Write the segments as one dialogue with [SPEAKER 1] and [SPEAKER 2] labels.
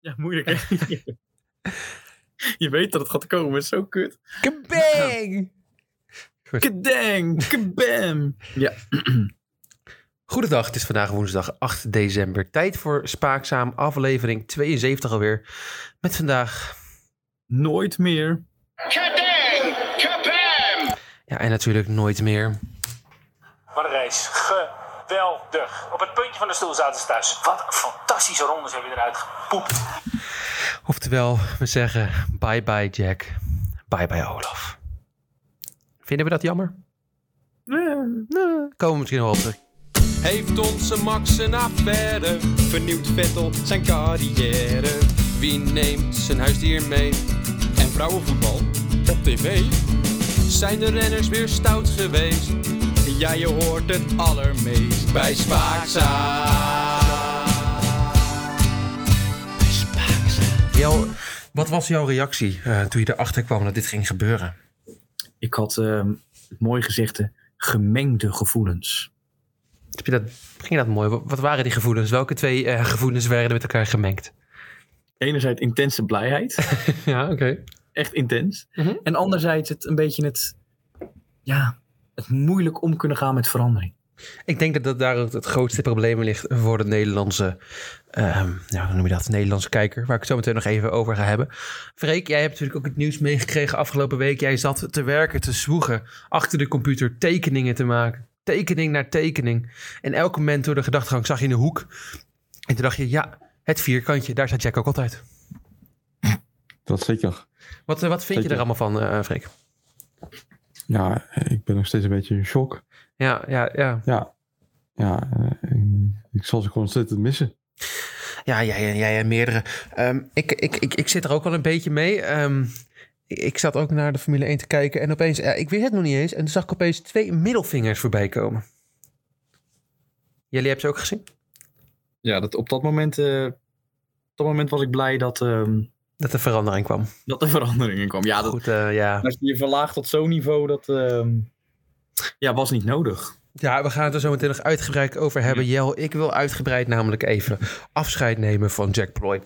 [SPEAKER 1] Ja, moeilijk hè? je weet dat het gaat komen, maar zo kut.
[SPEAKER 2] Kabang!
[SPEAKER 1] Kedang, kabam. Ja.
[SPEAKER 2] Goedendag, het is vandaag woensdag 8 december. Tijd voor Spaakzaam, aflevering 72 alweer. Met vandaag,
[SPEAKER 1] Nooit meer.
[SPEAKER 3] Kadang! Kabam!
[SPEAKER 2] ja en natuurlijk nooit meer.
[SPEAKER 4] Wat een race. Geweldig. Op het puntje van de stoel zaten ze thuis. Wat een fantastische rondes hebben we eruit gepoept.
[SPEAKER 2] Oftewel, we zeggen bye bye Jack, bye bye Olaf. Vinden we dat jammer? Nou, komen we misschien wel op terug.
[SPEAKER 5] Heeft onze Max een affaire? Vernieuwt Vettel zijn carrière? Wie neemt zijn huisdier mee? En vrouwenvoetbal op tv? Zijn de renners weer stout geweest? Ja, je hoort het allermeest bij Spaakzaam.
[SPEAKER 2] Jou, wat was jouw reactie eh, toen je erachter kwam dat dit ging gebeuren?
[SPEAKER 1] Ik had ehm, mooi gezegd, eh, gemengde gevoelens.
[SPEAKER 2] Heb je dat, ging dat mooi? Wat wat waren die gevoelens? Welke twee eh, gevoelens werden met elkaar gemengd?
[SPEAKER 1] Enerzijds intense blijheid,
[SPEAKER 2] Ja, oké.
[SPEAKER 1] echt intens.
[SPEAKER 2] Mhm.
[SPEAKER 1] En anderzijds het een beetje het, ja, het moeilijk om kunnen gaan met verandering.
[SPEAKER 2] Ik denk dat, dat daar het het grootste probleem ligt voor de Nederlandse, ehm, ja, hoe noem je dat, Nederlandse kijker, waar ik het zo meteen nog even over ga hebben. Freek, jij hebt natuurlijk ook het nieuws meegekregen afgelopen week. Jij zat te werken, te zwoegen, achter de computer tekeningen te maken. Tekening naar tekening. En elk moment door de gedachtegang zag je een hoek. En toen dacht je, ja, het vierkantje, daar staat Jack ook altijd.
[SPEAKER 6] Dat zeker.
[SPEAKER 2] Wat, eh, wat vind je
[SPEAKER 6] Zeker.
[SPEAKER 2] er allemaal van, eh Freek?
[SPEAKER 6] Ja, ik ben nog steeds een beetje in shock.
[SPEAKER 2] Ja, ja, ja.
[SPEAKER 6] Ja, ja eh, ik, ik zal ze gewoon ontzettend missen.
[SPEAKER 2] Ja, jij en jij en meerdere. Ehm, ik, ik, ik, ik zit er ook wel een beetje mee. Ehm, ik- ik zat ook naar de Formule 1 te kijken en opeens, ja, ik weet het nog niet eens, en toen zag ik opeens twee middelvingers voorbij komen. Jullie hebben ze ook gezien?
[SPEAKER 1] Ja, dat op dat moment, eh, op dat moment was ik blij dat, ehm,
[SPEAKER 2] Dat er verandering kwam.
[SPEAKER 1] dat er verandering in kwam. Ja, dat,
[SPEAKER 2] Goed, eh, ja.
[SPEAKER 1] als je je verlaagt tot zo'n niveau, dat ehm, ja, was niet nodig.
[SPEAKER 2] ja, we gaan het er zo meteen nog uitgebreid over hebben. Jel, ik wil uitgebreid namelijk even afscheid nemen van Jack Ploy.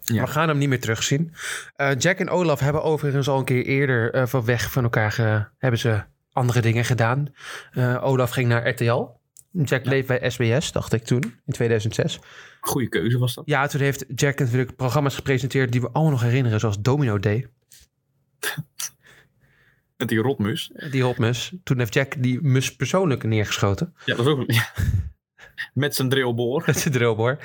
[SPEAKER 1] Ja.
[SPEAKER 2] We gaan hem niet meer terugzien. Eh, Jack en Olaf hebben overigens al een keer eerder eh, van weg van elkaar ge- hebben ze andere dingen gedaan. Eh, Olaf ging naar RTL. Jack bleef bij SBS, dacht ik toen, in 2006.
[SPEAKER 1] Goede keuze was dat.
[SPEAKER 2] Ja, toen heeft Jack natuurlijk programma's gepresenteerd die we allemaal nog herinneren, zoals Domino Day,
[SPEAKER 1] Met die rotmus.
[SPEAKER 2] eh, die hopmus. Toen heeft Jack die mus persoonlijk neergeschoten.
[SPEAKER 1] Ja, dat is ook. ja. Met zijn drillboor.
[SPEAKER 2] Dat is de drillboor.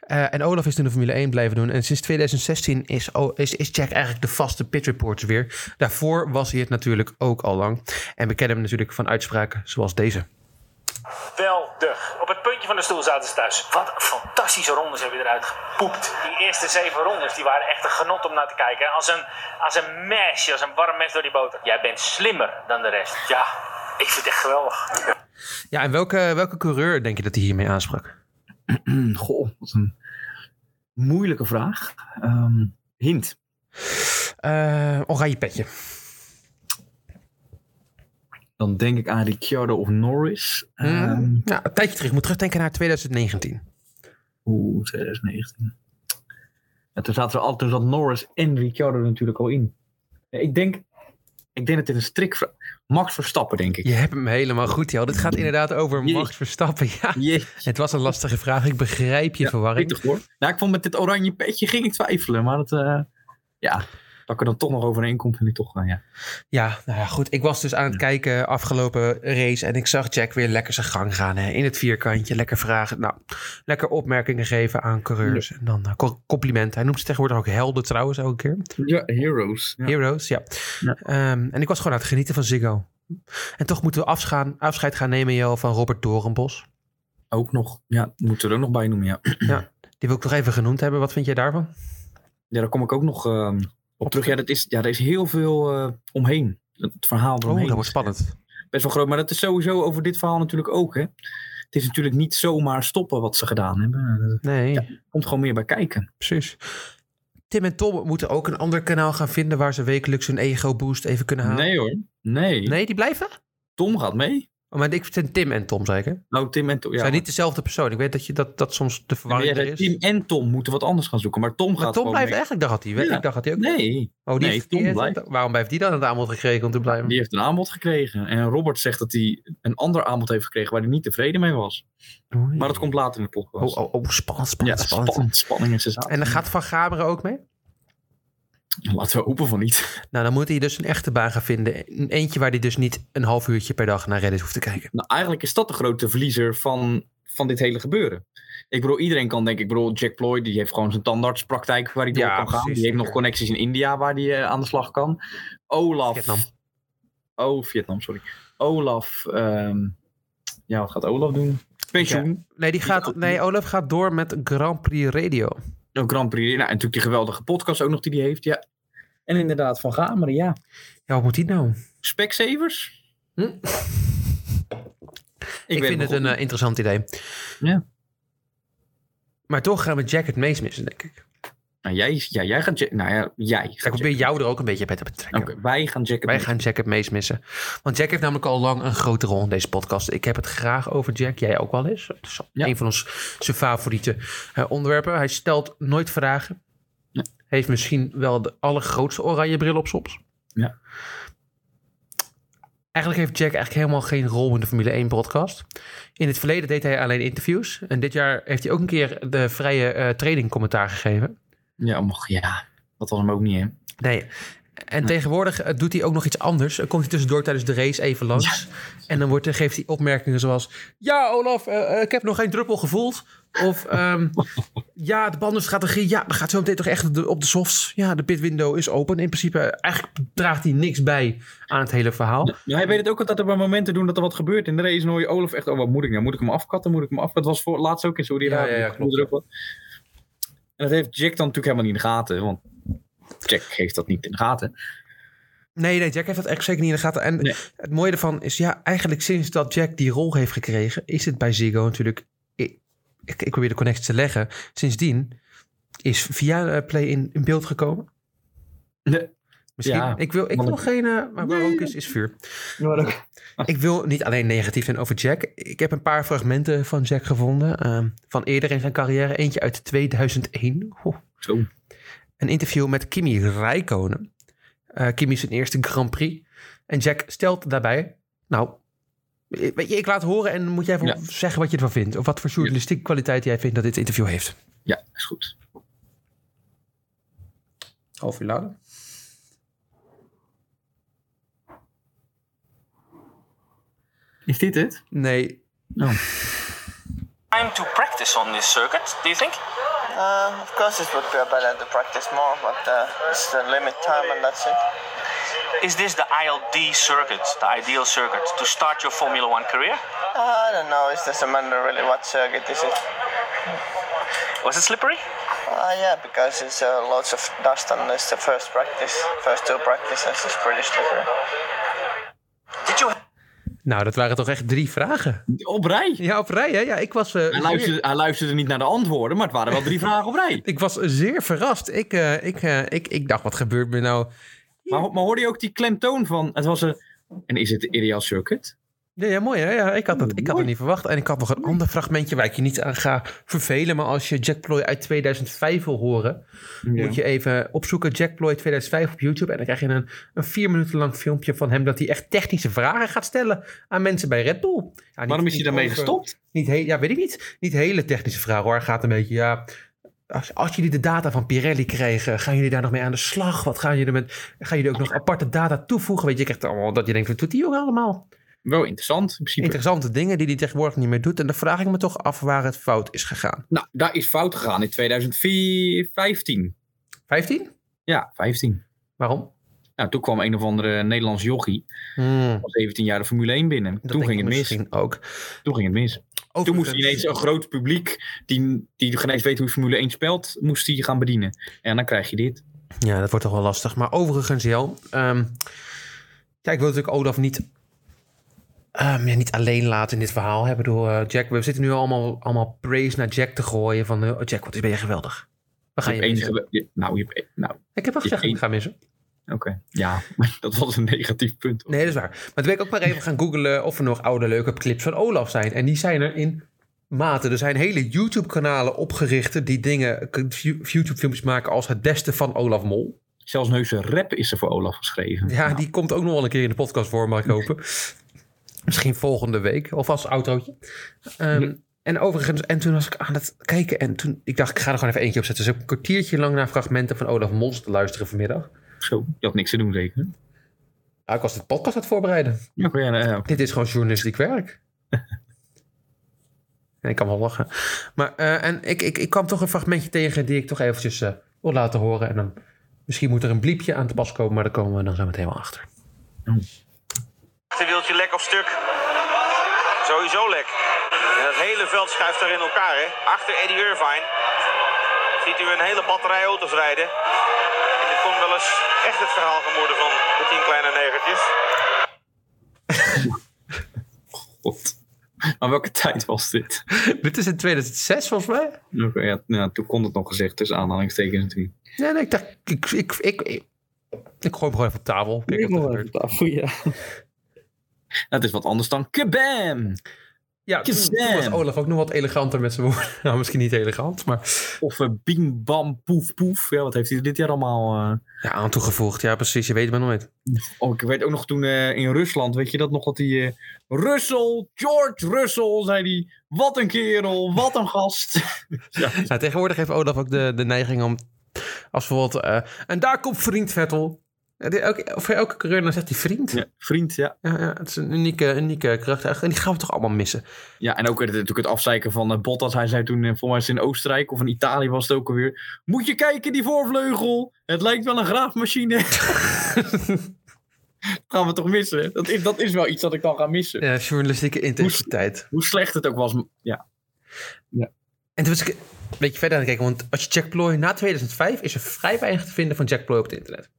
[SPEAKER 2] Eh, en Olaf is toen de Formule 1 blijven doen. En sinds 2016 is, O- is, is Jack eigenlijk de vaste pit reporter weer. Daarvoor was hij het natuurlijk ook al lang. En we kennen hem natuurlijk van uitspraken zoals deze.
[SPEAKER 4] Geweldig. Op het puntje van de stoel zaten ze thuis. Wat een fantastische rondes hebben we eruit gepoept. Die eerste zeven rondes die waren echt een genot om naar te kijken. Als een, als een mesje, als een warm mes door die boter. Jij bent slimmer dan de rest. Ja, ik vind het echt geweldig.
[SPEAKER 2] Ja, en welke, welke coureur denk je dat hij hiermee aansprak?
[SPEAKER 1] Hmm, Goh, wat een moeilijke vraag. Ehm, hint.
[SPEAKER 2] Eh oranje petje.
[SPEAKER 1] Dan denk ik aan Ricciardo of Norris. Ehm
[SPEAKER 2] Hm? Ja, een tijdje terug. Ik moet terugdenken naar 2019.
[SPEAKER 1] Oeh, 2019. En toen zaten er altijd toen zat Norris en Ricciardo er natuurlijk al in. Ja, Ik denk, ik denk dat dit een strik... Max Verstappen, denk ik.
[SPEAKER 2] Je hebt hem helemaal goed, joh. Dit gaat inderdaad over
[SPEAKER 1] Jee.
[SPEAKER 2] Max Verstappen. Ja,
[SPEAKER 1] Jeetje.
[SPEAKER 2] het was een lastige vraag. Ik begrijp je verwarring.
[SPEAKER 1] Pittig hoor. Nou, ik vond met dit oranje petje ging ik twijfelen. Maar dat, eh, ja, dat ik er dan toch nog overheen kom, vind ik toch wel, ja.
[SPEAKER 2] Ja, nou ja, goed. Ik was dus aan het kijken afgelopen race en ik zag Jack weer lekker zijn gang gaan. Hè, in het vierkantje, lekker vragen. Nou, lekker opmerkingen geven aan coureurs. En dan eh, co- complimenten. Hij noemt ze tegenwoordig ook helden trouwens elke keer.
[SPEAKER 1] Ja, Heroes.
[SPEAKER 2] Heroes, ja.
[SPEAKER 1] Ja.
[SPEAKER 2] Ehm, en ik was gewoon aan het genieten van Ziggo. En toch moeten we afschaan, afscheid gaan nemen joh, van Robert Dorenbos.
[SPEAKER 1] Ook nog. Ja, moeten we er ook nog bij noemen, ja.
[SPEAKER 2] Die wil ik nog even genoemd hebben. Wat vind jij daarvan?
[SPEAKER 1] Ja, daar kom ik ook nog ehm, op terug. Ja, dat is, ja, er is heel veel eh, omheen. Het het verhaal
[SPEAKER 2] Oh,
[SPEAKER 1] eromheen.
[SPEAKER 2] dat wordt spannend.
[SPEAKER 1] is Best wel groot. Maar dat is sowieso over dit verhaal natuurlijk ook, hè. Het is natuurlijk niet zomaar stoppen wat ze gedaan hebben. Er
[SPEAKER 2] Nee.
[SPEAKER 1] komt gewoon meer bij kijken.
[SPEAKER 2] Precies. Tim en Tom moeten ook een ander kanaal gaan vinden waar ze wekelijks hun ego boost even kunnen halen.
[SPEAKER 1] hoor. Nee.
[SPEAKER 2] Nee, die blijven?
[SPEAKER 1] Tom gaat mee.
[SPEAKER 2] Oh, maar ik vind Tim en Tom zeker.
[SPEAKER 1] Nou, Tim en Tom. Ja,
[SPEAKER 2] Zijn niet dezelfde persoon. Ik weet dat je dat, dat soms de
[SPEAKER 1] maar,
[SPEAKER 2] verwarring
[SPEAKER 1] jij
[SPEAKER 2] er
[SPEAKER 1] zei,
[SPEAKER 2] is. Oh,
[SPEAKER 1] Tim en Tom moeten wat anders gaan zoeken. Maar Tom
[SPEAKER 2] maar
[SPEAKER 1] gaat
[SPEAKER 2] Tom
[SPEAKER 1] gewoon
[SPEAKER 2] blijft
[SPEAKER 1] mee.
[SPEAKER 2] eigenlijk, dacht hij. We-
[SPEAKER 1] Ja.
[SPEAKER 2] Ik dacht dat hij ook.
[SPEAKER 1] Nee,
[SPEAKER 2] Oh, die
[SPEAKER 1] Nee,
[SPEAKER 2] heeft,
[SPEAKER 1] Tom
[SPEAKER 2] die heeft-
[SPEAKER 1] blijft.
[SPEAKER 2] waarom heeft die dan het aanbod gekregen om te blijven?
[SPEAKER 1] die heeft een aanbod gekregen. En Robert zegt dat hij een ander aanbod heeft gekregen waar hij niet tevreden mee was.
[SPEAKER 2] Oei.
[SPEAKER 1] Maar dat komt later in de podcast.
[SPEAKER 2] Oh, oh, oh, spannend,
[SPEAKER 1] ja,
[SPEAKER 2] spannend, spannend.
[SPEAKER 1] spannend. Spanning is dus zaad.
[SPEAKER 2] En dan gaat Van Gaberen ook mee?
[SPEAKER 1] Laten we hopen van niet.
[SPEAKER 2] Nou, dan moet hij dus een echte baan gaan vinden. Een eentje waar hij dus niet een half uurtje per dag naar Reddit hoeft te kijken.
[SPEAKER 1] Nou, eigenlijk is dat de grote verliezer van, van dit hele gebeuren. Ik bedoel, iedereen kan denk ik, ik bedoel, Jack Ploy, die heeft gewoon zijn tandartspraktijk waar hij door
[SPEAKER 2] Ja,
[SPEAKER 1] kan gaan.
[SPEAKER 2] precies,
[SPEAKER 1] die heeft nog
[SPEAKER 2] zeker.
[SPEAKER 1] connecties in India waar hij eh, aan de slag kan. Olaf.
[SPEAKER 2] Vietnam.
[SPEAKER 1] Oh, Vietnam, sorry. Olaf. ehm, ja, wat gaat Olaf doen? Pensioen.
[SPEAKER 2] Nee, die gaat, nee, Olaf gaat door met Grand Prix Radio.
[SPEAKER 1] Oh, Grand Prix. Nou, en natuurlijk die geweldige podcast ook nog die hij heeft. Ja. En inderdaad, Van Gameren, ja.
[SPEAKER 2] Ja, wat moet die nou?
[SPEAKER 1] Specsavers?
[SPEAKER 2] Hm? Ik, vind het een eh, interessant idee.
[SPEAKER 1] Ja.
[SPEAKER 2] Maar toch gaan we Jack het meest missen, denk ik.
[SPEAKER 1] Nou, jij, ja, jij gaat... Jack- Nou ja, jij
[SPEAKER 2] Ik
[SPEAKER 1] gaat
[SPEAKER 2] probeer
[SPEAKER 1] Jack-
[SPEAKER 2] jou er ook een beetje bij te betrekken.
[SPEAKER 1] Oké, wij gaan Jack
[SPEAKER 2] Wij gaan Jack het meest missen. Want Jack heeft namelijk al lang een grote rol in deze podcast. Ik heb het graag over Jack. Jij ook wel eens. Het is
[SPEAKER 1] Ja.
[SPEAKER 2] een van ons zijn favoriete eh, onderwerpen. Hij stelt nooit vragen.
[SPEAKER 1] Nee.
[SPEAKER 2] Heeft misschien wel de allergrootste oranje bril op soms.
[SPEAKER 1] Ja.
[SPEAKER 2] Eigenlijk heeft Jack eigenlijk helemaal geen rol in de Formule 1 podcast. In het verleden deed hij alleen interviews. En dit jaar heeft hij ook een keer de vrije eh training commentaar gegeven.
[SPEAKER 1] Ja, oh, mocht, ja, dat was hem ook niet, hè?
[SPEAKER 2] Nee. En tegenwoordig eh, doet hij ook nog iets anders. Dan komt hij tussendoor tijdens de race even langs. En dan wordt, er- geeft hij opmerkingen zoals... Ja, Olaf, eh, eh, ik heb nog geen druppel gevoeld. Of ehm, ja, de bandenstrategie. Ja, dat gaat zo meteen toch echt op de, op de softs. Ja, de pitwindow is open. In principe, eh, eigenlijk draagt hij niks bij aan het hele verhaal.
[SPEAKER 1] Ja, Oh, nou, hij weet het ook altijd dat er bij momenten doen dat er wat gebeurt. In de race hoor je Olaf echt, oh, wat moet ik nou? Moet ik hem afkatten? Moet ik hem af? Dat was voor, laatst ook in Saudi-Arabië.
[SPEAKER 2] Ja, ja, ja, klopt.
[SPEAKER 1] Er ook wat. En dat heeft Jack dan natuurlijk helemaal niet in de gaten, want Jack heeft dat niet in de gaten.
[SPEAKER 2] Nee, nee, Jack heeft dat echt zeker niet in de gaten. En
[SPEAKER 1] Nee.
[SPEAKER 2] het mooie ervan is, ja, eigenlijk sinds dat Jack die rol heeft gekregen, is het bij Ziggo natuurlijk. Ik, ik, ik probeer de connectie te leggen. Sindsdien is via eh, Play in, in beeld gekomen.
[SPEAKER 1] Nee.
[SPEAKER 2] Misschien.
[SPEAKER 1] Ja,
[SPEAKER 2] ik wil, ik
[SPEAKER 1] want
[SPEAKER 2] wil
[SPEAKER 1] ik-
[SPEAKER 2] geen. eh, maar waar ook is, is vuur. Ik wil niet alleen negatief zijn over Jack. Ik heb een paar fragmenten van Jack gevonden. ehm, van eerder in zijn carrière. Eentje uit 2001. Ho
[SPEAKER 1] Zo.
[SPEAKER 2] een interview met Kimi Räikkönen. Eh Kimi zijn eerste Grand Prix. En Jack stelt daarbij, nou, ik- weet je, ik laat horen en moet jij even
[SPEAKER 1] Ja.
[SPEAKER 2] zeggen wat je ervan vindt. Of wat voor journalistieke kwaliteit jij vindt dat dit interview heeft.
[SPEAKER 1] Ja, is goed.
[SPEAKER 2] Half uur later.
[SPEAKER 1] Is dit het?
[SPEAKER 2] Nee,
[SPEAKER 4] Time to practice on this circuit, do you think?
[SPEAKER 7] Uh, of course, it would be better to practice more, but uh, it's the limit time, and that's it.
[SPEAKER 4] Is this the ILD circuit, the ideal circuit, to start your Formula One career?
[SPEAKER 7] Uh, I don't know. It doesn't matter really what circuit is it.
[SPEAKER 4] Was it slippery?
[SPEAKER 7] Uh, yeah, because it's uh, loads of dust, and it's the first practice, first two practices is pretty slippery.
[SPEAKER 4] Did you
[SPEAKER 2] nou, dat waren toch echt drie vragen.
[SPEAKER 1] Op rij.
[SPEAKER 2] Ja, op rij, hè? Ja, ik was, eh,
[SPEAKER 1] Hij
[SPEAKER 2] zeer,
[SPEAKER 1] luisterde, hij luisterde niet naar de antwoorden, maar het waren wel drie vragen op rij.
[SPEAKER 2] ik was zeer verrast. Ik, eh, ik, eh, ik, ik dacht, wat gebeurt me nou?
[SPEAKER 1] Maar, ho- maar hoorde je ook die klemtoon van, het was een... En is het de ideaal circuit?
[SPEAKER 2] Ja, ja mooi hè? Ja, ik had, dat, ik had
[SPEAKER 1] Mooi.
[SPEAKER 2] het niet verwacht. En ik had nog een ander fragmentje waar ik je niet aan ga vervelen. Maar als je Jack Ploy uit 2005 wil horen, moet je even opzoeken Jack Ploy 2005 op YouTube. En dan krijg je een, een vier minuten lang filmpje van hem dat hij echt technische vragen gaat stellen aan mensen bij Red Bull. Ja, niet-
[SPEAKER 1] Waarom is hij
[SPEAKER 2] niet
[SPEAKER 1] daarmee
[SPEAKER 2] over-
[SPEAKER 1] gestopt?
[SPEAKER 2] Niet he- ja, weet ik niet. Niet hele technische vragen hoor. Hij Gaat een beetje, ja... Als, als jullie de data van Pirelli krijgen, gaan jullie daar nog mee aan de slag? Wat gaan jullie, er met, gaan jullie ook nog aparte data toevoegen? Weet je, je krijgt allemaal dat je denkt, wat doet die ook allemaal?
[SPEAKER 1] Wel interessant, in principe.
[SPEAKER 2] interessante dingen die hij tegenwoordig niet meer doet. En dan vraag ik me toch af waar het fout is gegaan.
[SPEAKER 1] Nou, daar is fout gegaan in 2015.
[SPEAKER 2] 15?
[SPEAKER 1] Ja, 15.
[SPEAKER 2] Waarom?
[SPEAKER 1] Nou, toen kwam een of andere Nederlands jochie van 17 jaar de Formule 1 binnen.
[SPEAKER 2] dat
[SPEAKER 1] Toen
[SPEAKER 2] denk
[SPEAKER 1] ging,
[SPEAKER 2] ik
[SPEAKER 1] het mis.
[SPEAKER 2] Misschien ook.
[SPEAKER 1] toen ging het mis. Toen moest hij ineens een groot publiek, die, die geen eens weet hoe Formule 1 spelt, moest hij gaan bedienen. En dan krijg je dit.
[SPEAKER 2] Ja, dat wordt toch wel lastig. Maar overigens, Jel. ehm ja, ik wil natuurlijk Olaf niet, ehm, ja, niet alleen laten in dit verhaal. Hè. Ik bedoel, eh, Jack, we zitten nu allemaal, allemaal praise naar Jack te gooien. Van, eh, oh, Jack, wat is ben je geweldig. We gaan
[SPEAKER 1] Je
[SPEAKER 2] je
[SPEAKER 1] hebt één gewe-
[SPEAKER 2] missen.
[SPEAKER 1] je- nou, je hebt één- nou,
[SPEAKER 2] Ik heb al
[SPEAKER 1] je
[SPEAKER 2] gezegd dat ik
[SPEAKER 1] hebt
[SPEAKER 2] ga missen.
[SPEAKER 1] Oké. Ja, maar dat was een negatief punt.
[SPEAKER 2] Nee, dat is waar. Maar toen ben ik ook maar even gaan googlen of er nog oude leuke clips van Olaf zijn. En die zijn er in mate. Er zijn hele YouTube-kanalen opgericht die dingen, YouTube-filmpjes maken als het beste van Olaf Mol.
[SPEAKER 1] Zelfs een heuse rap is er voor Olaf geschreven.
[SPEAKER 2] Ja, die komt ook nog wel een keer in de podcast voor, mag ik hopen. Misschien volgende week, of als autootje. Ehm, En overigens, en toen was ik aan het kijken en toen, ik dacht, ik ga er gewoon even eentje op zetten. Dus ik heb een kwartiertje lang naar fragmenten van Olaf Mol te luisteren vanmiddag.
[SPEAKER 1] Zo, je had niks te doen zeker?
[SPEAKER 2] Nou, ik was dit podcast aan het voorbereiden.
[SPEAKER 1] Ja, oké, ja, nou ja.
[SPEAKER 2] Dit is gewoon journalistiek werk. En ik kan wel lachen. Maar eh, en ik, ik, ik kwam toch een fragmentje tegen die ik toch eventjes eh, wil laten horen. En dan misschien moet er een bliepje aan te pas komen, maar daar komen we dan zo meteen wel achter.
[SPEAKER 8] achterwieltje lek op stuk. Sowieso lek. En dat hele veld schuift daar in elkaar, hè. Achter Eddie Irvine ziet u een hele batterij auto's rijden. En dit kon wel eens echt het verhaal gaan worden van de tien kleine negertjes.
[SPEAKER 1] God. Maar welke tijd was dit?
[SPEAKER 2] Dit is in 2006 volgens mij.
[SPEAKER 1] Oké, ja, nou, toen kon het nog gezegd, tussen aanhalingstekens natuurlijk.
[SPEAKER 2] Nee, nee, ik dacht, ik, ik, ik, ik, ik gooi hem gewoon even op tafel. Kijk wat er gebeurt.
[SPEAKER 1] ja. Dat is wat anders dan kabam!
[SPEAKER 2] Ja, toen, toen was Olaf ook nog wat eleganter met zijn woorden. Nou, misschien niet elegant, maar
[SPEAKER 1] Of eh, bim bam poef poef. Ja, wat heeft hij dit jaar allemaal... eh,
[SPEAKER 2] ja, aan toegevoegd. Ja, precies. Je weet het maar nooit.
[SPEAKER 1] Oh, ik weet ook nog toen eh, in Rusland, weet je dat nog, dat die eh Russell, George Russell, zei die, wat een kerel, wat een gast.
[SPEAKER 2] Nou, tegenwoordig heeft Olaf ook de, de neiging om. Als bijvoorbeeld. eh, en daar komt vriend Vettel. Eh, die- elke- Voor elke coureur dan zegt hij vriend. Ja.
[SPEAKER 1] Ja, vriend, ja.
[SPEAKER 2] Ja, het is een unieke, unieke kracht. eigenlijk. En die gaan we toch allemaal missen.
[SPEAKER 1] Ja, en ook eh, natuurlijk het afzeiken van eh, Bottas. Hij zei toen, eh, volgens mij is het in Oostenrijk of in Italië was het ook alweer, moet je kijken die voorvleugel, het lijkt wel een graafmachine. gaan we toch missen? Dat is, dat is wel iets dat ik dan ga missen.
[SPEAKER 2] Ja, journalistieke intensiteit.
[SPEAKER 1] Hoe slecht het ook was, m- ja.
[SPEAKER 2] En toen was ik een beetje verder aan het kijken. Want als je Jack Ploy na 2005 is er vrij weinig te vinden van Jack Ploy op het internet.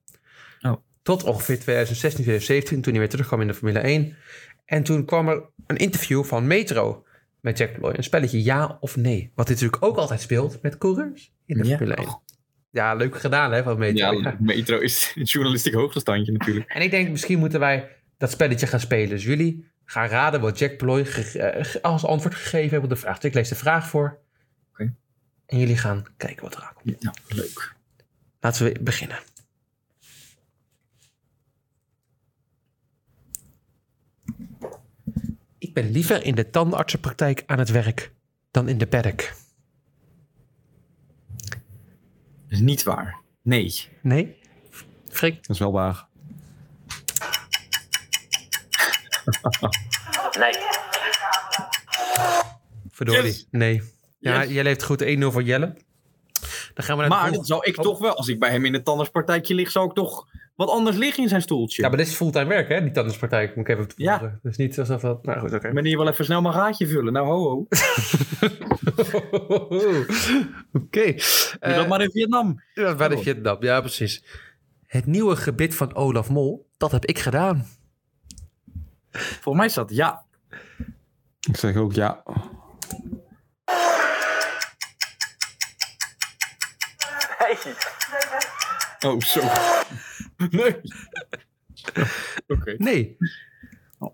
[SPEAKER 1] Oh.
[SPEAKER 2] Tot ongeveer 2016, 2017, toen hij weer terugkwam in de Formule 1. En toen kwam er een interview van Metro met Jack Ploy. Een spelletje ja of nee. Wat dit natuurlijk ook altijd speelt met coureurs in de
[SPEAKER 1] Ja.
[SPEAKER 2] Formule 1. Ja, leuk gedaan hè, van
[SPEAKER 1] Ja,
[SPEAKER 2] Metro. Ja.
[SPEAKER 1] metro is het journalistiek hoogstandje natuurlijk.
[SPEAKER 2] En ik denk, misschien moeten wij dat spelletje gaan spelen. Dus jullie gaan raden wat Jack Ploy ge- eh, ge- als antwoord gegeven heeft op de vraag. Dus ik lees de vraag voor.
[SPEAKER 1] Oké.
[SPEAKER 2] En jullie gaan kijken wat eraan komt.
[SPEAKER 1] Ja, leuk.
[SPEAKER 2] Laten we beginnen. Ik ben liever in de tandartsenpraktijk aan het werk dan in de paddock.
[SPEAKER 1] Dat is niet waar. Nee.
[SPEAKER 2] Nee? Freek?
[SPEAKER 6] Dat is wel waar.
[SPEAKER 4] Nee.
[SPEAKER 2] Verdorie.
[SPEAKER 1] Yes.
[SPEAKER 2] Nee. Ja,
[SPEAKER 1] Yes.
[SPEAKER 2] jij leeft goed 1-0 voor Jelle. Dan gaan we naar de
[SPEAKER 1] Maar
[SPEAKER 2] volgende.
[SPEAKER 1] dan zou ik
[SPEAKER 2] Oh.
[SPEAKER 1] toch wel, als ik bij hem in het tandartspartijtje lig, zou ik toch wat anders liggen in zijn stoeltje.
[SPEAKER 2] Ja, maar dit is fulltime werk, hè? Die tandartspraktijk, moet ik even
[SPEAKER 1] Ja.
[SPEAKER 2] toevoegen. Dus niet alsof dat... Nou goed, oké.
[SPEAKER 1] Meneer wil even snel mijn gaatje vullen. Nou, ho, ho. Doe
[SPEAKER 2] Oké. Eh,
[SPEAKER 1] dat maar in Vietnam.
[SPEAKER 2] Ja, waar de Vietnam, ja precies. Het nieuwe gebit van Olaf Mol, dat heb ik gedaan.
[SPEAKER 1] Volgens mij is dat ja.
[SPEAKER 6] Ik zeg ook ja.
[SPEAKER 1] Oh, zo. Nee. Oké.
[SPEAKER 2] Nee. Nou,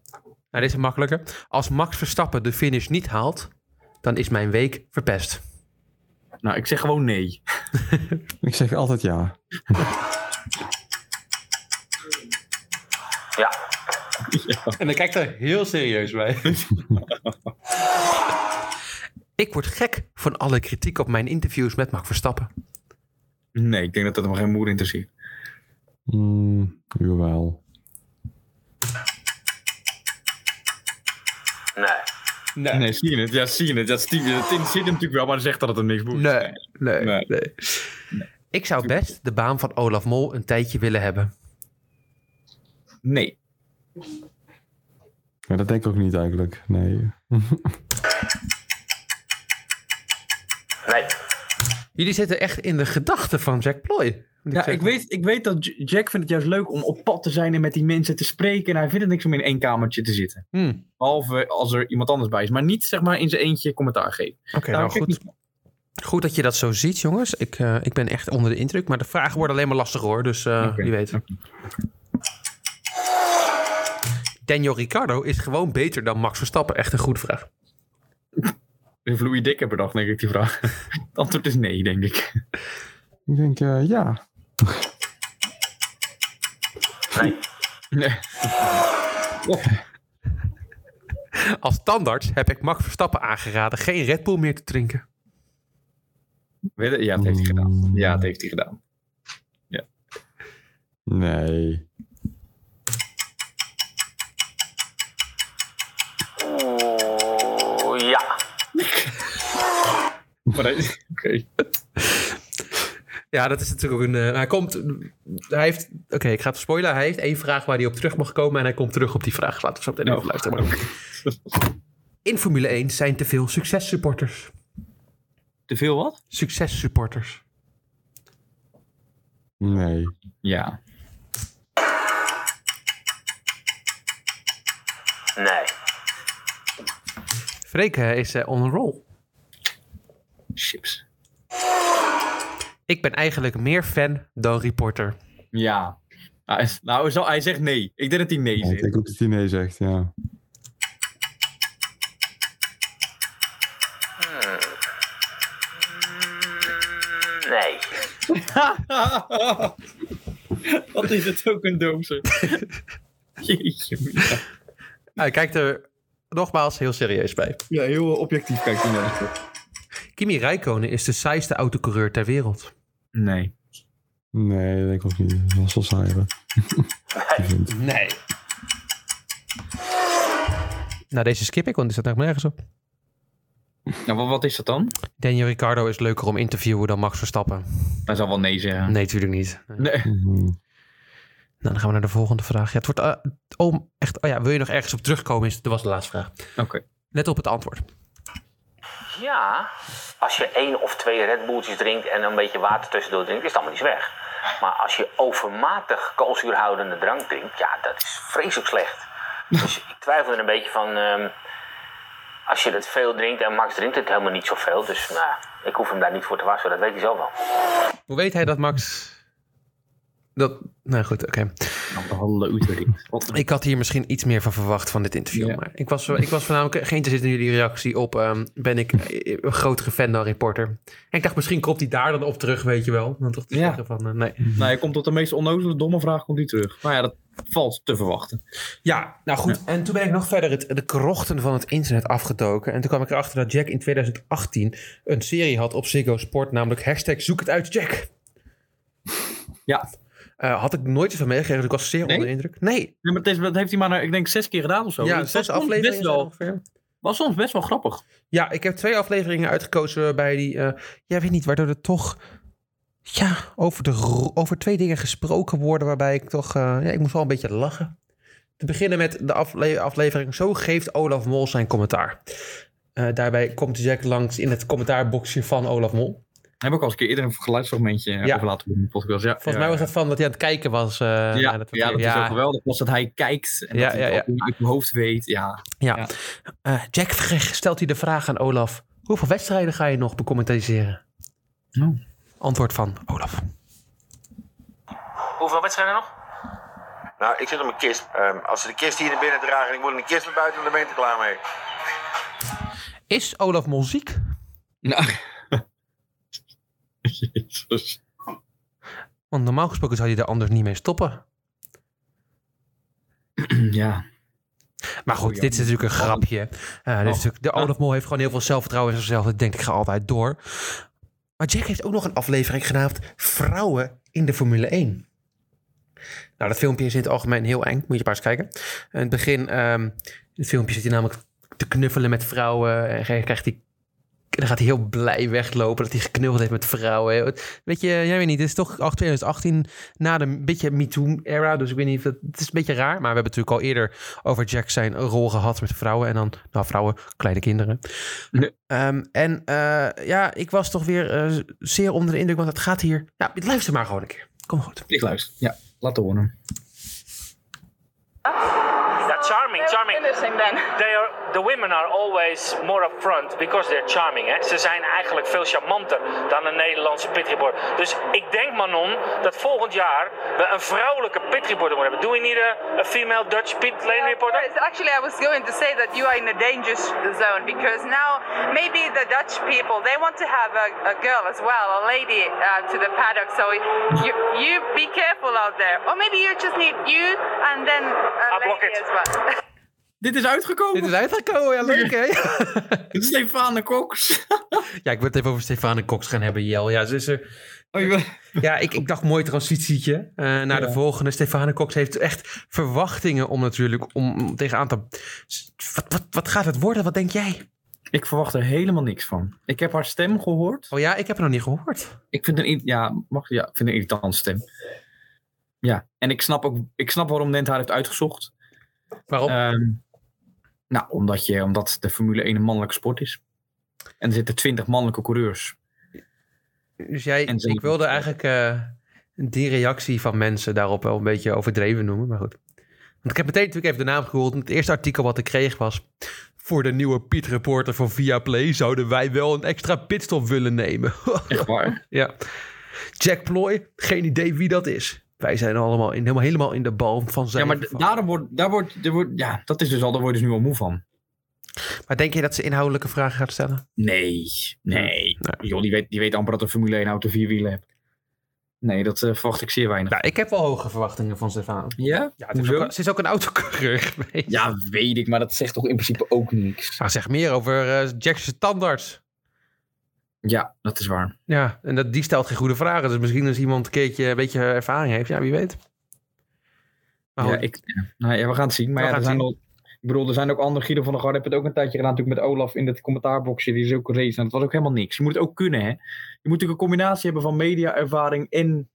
[SPEAKER 2] dit is makkelijker. Als Max Verstappen de finish niet haalt, dan is mijn week verpest.
[SPEAKER 1] Nou, ik zeg gewoon nee.
[SPEAKER 6] Ik zeg altijd ja.
[SPEAKER 4] Ja.
[SPEAKER 2] En dan kijkt er heel serieus bij. ik word gek van alle kritiek op mijn interviews met Max Verstappen.
[SPEAKER 1] Nee, ik denk dat dat hem geen moer interesseert.
[SPEAKER 6] Mm, jawel.
[SPEAKER 4] Nee.
[SPEAKER 2] Nee.
[SPEAKER 1] Nee, zie je het? Ja, zie je het? Ja, zie je het? Het interesseert hem natuurlijk wel, maar hij zegt dat het hem niks boeit.
[SPEAKER 2] Nee, nee,
[SPEAKER 1] Nee.
[SPEAKER 2] nee. Ik zou best de baan van Olaf Mol een tijdje willen hebben.
[SPEAKER 1] Nee.
[SPEAKER 6] Ja, dat denk ik ook niet eigenlijk. Nee.
[SPEAKER 4] Nee.
[SPEAKER 2] Jullie zitten echt in de gedachten van Jack Ploy. Want
[SPEAKER 1] Ja,
[SPEAKER 2] zeg-
[SPEAKER 1] ik weet, ik weet dat J- Jack vindt het juist leuk om op pad te zijn en met die mensen te spreken. En hij vindt het niks om in één kamertje te zitten.
[SPEAKER 2] Hmm,
[SPEAKER 1] Behalve als er iemand anders bij is. Maar niet zeg maar in zijn eentje commentaar geven.
[SPEAKER 2] Oké,
[SPEAKER 1] Nou,
[SPEAKER 2] nou
[SPEAKER 1] ik
[SPEAKER 2] goed.
[SPEAKER 1] niet.
[SPEAKER 2] Goed dat je dat zo ziet, jongens. Ik, eh, ik ben echt onder de indruk. Maar de vragen worden alleen maar lastiger, hoor. Dus eh wie weet. Daniel Ricciardo is gewoon beter dan Max Verstappen. Echt een goed vraag.
[SPEAKER 1] Heeft Louis Dikker bedacht, denk ik, die vraag? Het antwoord is nee, denk ik.
[SPEAKER 6] Ik denk, eh, ja.
[SPEAKER 1] Nee.
[SPEAKER 2] Als standaard heb ik Max Verstappen aangeraden geen Red Bull meer te drinken.
[SPEAKER 1] Weet je- Ja, het heeft hij gedaan. Ja, het heeft hij gedaan.
[SPEAKER 6] Nee.
[SPEAKER 4] Oeh, ja.
[SPEAKER 1] Maar hij- Oké.
[SPEAKER 2] Ja, dat is natuurlijk ook een. eh, hij komt. Hij heeft. Oké, ik ga het spoilen. Hij heeft één vraag waar hij op terug mag komen. En hij komt terug op die vraag. Laten we zo meteen
[SPEAKER 1] Oh,
[SPEAKER 2] even luisteren. In Formule 1 zijn te veel successupporters.
[SPEAKER 1] Te veel wat?
[SPEAKER 2] Successupporters.
[SPEAKER 6] Nee.
[SPEAKER 1] Ja.
[SPEAKER 4] Nee.
[SPEAKER 2] Freek eh, is eh, on a roll.
[SPEAKER 1] Chips.
[SPEAKER 2] Ik ben eigenlijk meer fan dan reporter.
[SPEAKER 1] Ja. Hij is- Nou, zo- hij zegt nee. Ik denk dat hij nee
[SPEAKER 6] Ja, ik
[SPEAKER 1] zegt.
[SPEAKER 6] denk ook dat hij nee zegt, ja.
[SPEAKER 4] Nee.
[SPEAKER 1] Wat is het ook een dozer? Jeetje. mina.
[SPEAKER 2] Hij kijkt er nogmaals heel serieus bij.
[SPEAKER 1] Ja, heel objectief kijkt hij naar.
[SPEAKER 2] Kimi Räikkönen is de saaiste autocoureur ter wereld.
[SPEAKER 1] Nee.
[SPEAKER 6] Nee, dat denk ik ook niet. Dat was wel saai, hè.
[SPEAKER 2] Nee. Nou, deze skip ik, want die staat eigenlijk nergens op.
[SPEAKER 1] Nou, wat, wat is dat dan?
[SPEAKER 2] Daniel Ricciardo is leuker om interviewen dan Max Verstappen.
[SPEAKER 1] Hij zal wel nee zeggen.
[SPEAKER 2] Nee, natuurlijk niet.
[SPEAKER 1] Nee.
[SPEAKER 6] Mhm.
[SPEAKER 2] Nou, dan gaan we naar de volgende vraag. Ja, het wordt eh, om echt. Oh ja, wil je nog ergens op terugkomen? Is, dat was de laatste vraag.
[SPEAKER 1] Oké.
[SPEAKER 2] Let op het antwoord.
[SPEAKER 4] Ja.
[SPEAKER 9] Als je één of twee Red Bulltjes drinkt en een beetje water tussendoor drinkt, is het allemaal niet weg. Maar als je overmatig koolzuurhoudende drank drinkt, ja, dat is vreselijk slecht. Dus ik twijfel er een beetje van. ehm, als je dat veel drinkt, en Max drinkt het helemaal niet zoveel, dus nou, ik hoef hem daar niet voor te wassen, dat weet hij zelf wel.
[SPEAKER 2] Hoe weet hij dat, Max? Dat. Nou goed, oké.
[SPEAKER 1] Nou, hallo, Utrecht. Wat een-
[SPEAKER 2] Ik had hier misschien iets meer van verwacht van dit interview.
[SPEAKER 1] Ja.
[SPEAKER 2] Maar ik was, eh, ik was voornamelijk geïnteresseerd in jullie reactie op. ehm, ben ik eh, een grotere fan dan reporter? En ik dacht, misschien komt hij daar dan op terug, weet je wel. Dan toch te
[SPEAKER 1] Ja.
[SPEAKER 2] zeggen van. eh, nee.
[SPEAKER 1] Nou, je komt tot de meest onnozele domme vraag, komt hij terug. Nou ja, dat valt te verwachten.
[SPEAKER 2] Ja, nou goed. En toen ben ik nog verder het, de krochten van het internet afgedoken. En toen kwam ik erachter dat Jack in 2018 een serie had op Ziggo Sport, namelijk hashtag zoek het uit Jack.
[SPEAKER 1] Ja.
[SPEAKER 2] Eh, had ik nooit iets van meegekregen, dus ik was zeer
[SPEAKER 1] Nee?
[SPEAKER 2] onder de indruk. Nee,
[SPEAKER 1] Ja, maar het is, dat heeft hij maar, eh, ik denk, zes keer gedaan of zo.
[SPEAKER 2] ja,
[SPEAKER 1] Dat
[SPEAKER 2] zes
[SPEAKER 1] was soms
[SPEAKER 2] afleveringen
[SPEAKER 1] Best wel,
[SPEAKER 2] ongeveer.
[SPEAKER 1] was soms best wel grappig.
[SPEAKER 2] Ja, ik heb twee afleveringen uitgekozen waarbij die... eh ja, weet niet, waardoor er toch... Ja, over, de, ro- over twee dingen gesproken worden waarbij ik toch... eh, ja, ik moest wel een beetje lachen. Te beginnen met de afle- aflevering Zo geeft Olaf Mol zijn commentaar. Eh, daarbij komt Jack langs in het commentaarboxje van Olaf Mol.
[SPEAKER 1] Heb ik al eens een keer eerder een geluidsfragmentje
[SPEAKER 2] Ja.
[SPEAKER 1] over laten horen in de podcast. Ja,
[SPEAKER 2] Volgens
[SPEAKER 1] ja.
[SPEAKER 2] mij was het van dat hij aan het kijken was. eh,
[SPEAKER 1] ja,
[SPEAKER 2] naar
[SPEAKER 1] dat,
[SPEAKER 2] dat-
[SPEAKER 1] ja, dat is ook geweldig. Was dat hij kijkt en
[SPEAKER 2] Ja,
[SPEAKER 1] dat hij
[SPEAKER 2] ja,
[SPEAKER 1] het al uit mijn hoofd weet. Ja,
[SPEAKER 2] Ja.
[SPEAKER 1] Ja.
[SPEAKER 2] Eh, Jack stelt hij de vraag aan Olaf: hoeveel wedstrijden ga je nog becommentaliseren?
[SPEAKER 1] Oh.
[SPEAKER 2] Antwoord van Olaf.
[SPEAKER 4] Hoeveel wedstrijden nog?
[SPEAKER 8] Nou, ik zit op mijn kist. Ehm, als ze de kist hier naar binnen dragen en ik moet in de kist naar buiten, dan ben ik er klaar mee.
[SPEAKER 2] Is Olaf Mol ziek?
[SPEAKER 1] Nou. Jezus.
[SPEAKER 2] Want normaal gesproken zou je er anders niet mee stoppen.
[SPEAKER 1] Ja.
[SPEAKER 2] Maar goed,
[SPEAKER 1] Oh, ja.
[SPEAKER 2] dit is natuurlijk een grapje. Eh, dit is
[SPEAKER 1] Oh.
[SPEAKER 2] natuurlijk- de Olaf Mol heeft gewoon heel veel zelfvertrouwen in zichzelf. Dat denkt ik ga altijd door. Maar Jack heeft ook nog een aflevering genaamd Vrouwen in de Formule 1. Nou, dat filmpje is in het algemeen heel eng. Moet je maar eens kijken. In het begin, ehm, in het filmpje zit hij namelijk te knuffelen met vrouwen. En hij krijgt hij, dan gaat hij heel blij weglopen dat hij geknuffeld heeft met vrouwen. Weet je, jij weet niet, het is toch 2018 na de beetje MeToo-era. Dus ik weet niet, of dat, het is een beetje raar. Maar we hebben natuurlijk al eerder over Jack zijn rol gehad met vrouwen. En dan, nou vrouwen, kleine kinderen.
[SPEAKER 1] Nee.
[SPEAKER 2] Ehm, en eh, ja, ik was toch weer eh, zeer onder de indruk, want het gaat hier... Ja, luister maar gewoon een keer. Kom goed.
[SPEAKER 1] Ik luister. Ja, laat horen.
[SPEAKER 4] Ja, charming, charming.
[SPEAKER 10] Finishing then.
[SPEAKER 4] They are the women are always more upfront because they're charming. Hè? Ze zijn eigenlijk veel charmanter dan een Nederlandse pitreporter. Dus ik denk, Manon, dat volgend jaar we een vrouwelijke pitreporter moeten hebben. Do we need a, a female Dutch pit lane reporter?
[SPEAKER 10] Yes, Actually, I was going to say that you are in a danger zone because now maybe the Dutch people they want to have a, a girl as well, a lady uh, to the paddock. So you, you be careful out there, or maybe you just need you and then a
[SPEAKER 4] block
[SPEAKER 10] lady
[SPEAKER 4] it.
[SPEAKER 10] as well.
[SPEAKER 1] Dit is uitgekomen.
[SPEAKER 2] Dit is uitgekomen, ja leuk hè?
[SPEAKER 1] Stefane Koks.
[SPEAKER 2] ja, ik wil het even over Stefane Cox gaan hebben, Jel. Ja, ze is er
[SPEAKER 1] Oh, je bent-
[SPEAKER 2] Ja, ik, ik dacht mooi transitietje eh, naar de volgende. Stefane Cox heeft echt verwachtingen om natuurlijk om, om tegenaan te... Wat, wat, wat gaat het worden? Wat denk jij?
[SPEAKER 1] ik verwacht er helemaal niks van. Ik heb haar stem gehoord.
[SPEAKER 2] Oh ja, ik heb het nog niet gehoord.
[SPEAKER 1] Ik vind een, ir- ja, mag, ja, ik vind een irritant stem. Ja, en ik snap, ook, ik snap waarom Nent haar heeft uitgezocht.
[SPEAKER 2] Waarom?
[SPEAKER 1] Ehm, nou, omdat, je, omdat de Formule 1 een mannelijke sport is. En er zitten twintig mannelijke coureurs.
[SPEAKER 2] dus jij,
[SPEAKER 1] en
[SPEAKER 2] ik
[SPEAKER 1] zeker-
[SPEAKER 2] wilde eigenlijk eh, die reactie van mensen daarop wel een beetje overdreven noemen, maar goed. Want ik heb meteen natuurlijk even de naam gehoord. Het eerste artikel wat ik kreeg was... Voor de nieuwe Piet Reporter van Viaplay zouden wij wel een extra pitstop willen nemen.
[SPEAKER 1] Echt waar?
[SPEAKER 2] Ja. Jack Ploy, geen idee wie dat is. Wij zijn allemaal in, helemaal, helemaal in de bal van zijn.
[SPEAKER 1] ja, maar d-
[SPEAKER 2] verval.
[SPEAKER 1] daarom wordt, daar wordt, daar wordt, ja, dat is dus al, daar word je dus nu al moe van.
[SPEAKER 2] Maar denk je dat ze inhoudelijke vragen gaat stellen?
[SPEAKER 1] Nee, nee. Joh, die weet, die weet amper dat de Formule 1 auto vier wielen hebt. Nee, dat eh, verwacht ik zeer weinig.
[SPEAKER 2] Nou, ik heb wel hoge verwachtingen van Stefan.
[SPEAKER 1] Ja?
[SPEAKER 2] Ja, het is
[SPEAKER 1] Hoezo?
[SPEAKER 2] ook- ze is ook een autocoureur geweest.
[SPEAKER 1] Ja, weet ik, maar dat zegt toch in principe ook niks.
[SPEAKER 2] Nou, zeg meer over eh Jack's tandarts.
[SPEAKER 1] Ja, dat is waar.
[SPEAKER 2] Ja, en dat, die stelt geen goede vragen. Dus misschien als iemand een keertje een beetje ervaring heeft. Ja, wie weet. Maar
[SPEAKER 1] ja,
[SPEAKER 2] goed,
[SPEAKER 1] ik, ja. Nou ja, we gaan het zien. Maar
[SPEAKER 2] We
[SPEAKER 1] ja,
[SPEAKER 2] gaan
[SPEAKER 1] er
[SPEAKER 2] het
[SPEAKER 1] zijn al, ik bedoel, er zijn ook andere. Guido van der Garde heeft het ook een tijdje gedaan natuurlijk met Olaf in dat commentaarboxje. Die is ook een race. En dat was ook helemaal niks. Je moet het ook kunnen, hè. Je moet natuurlijk een combinatie hebben van mediaervaring en,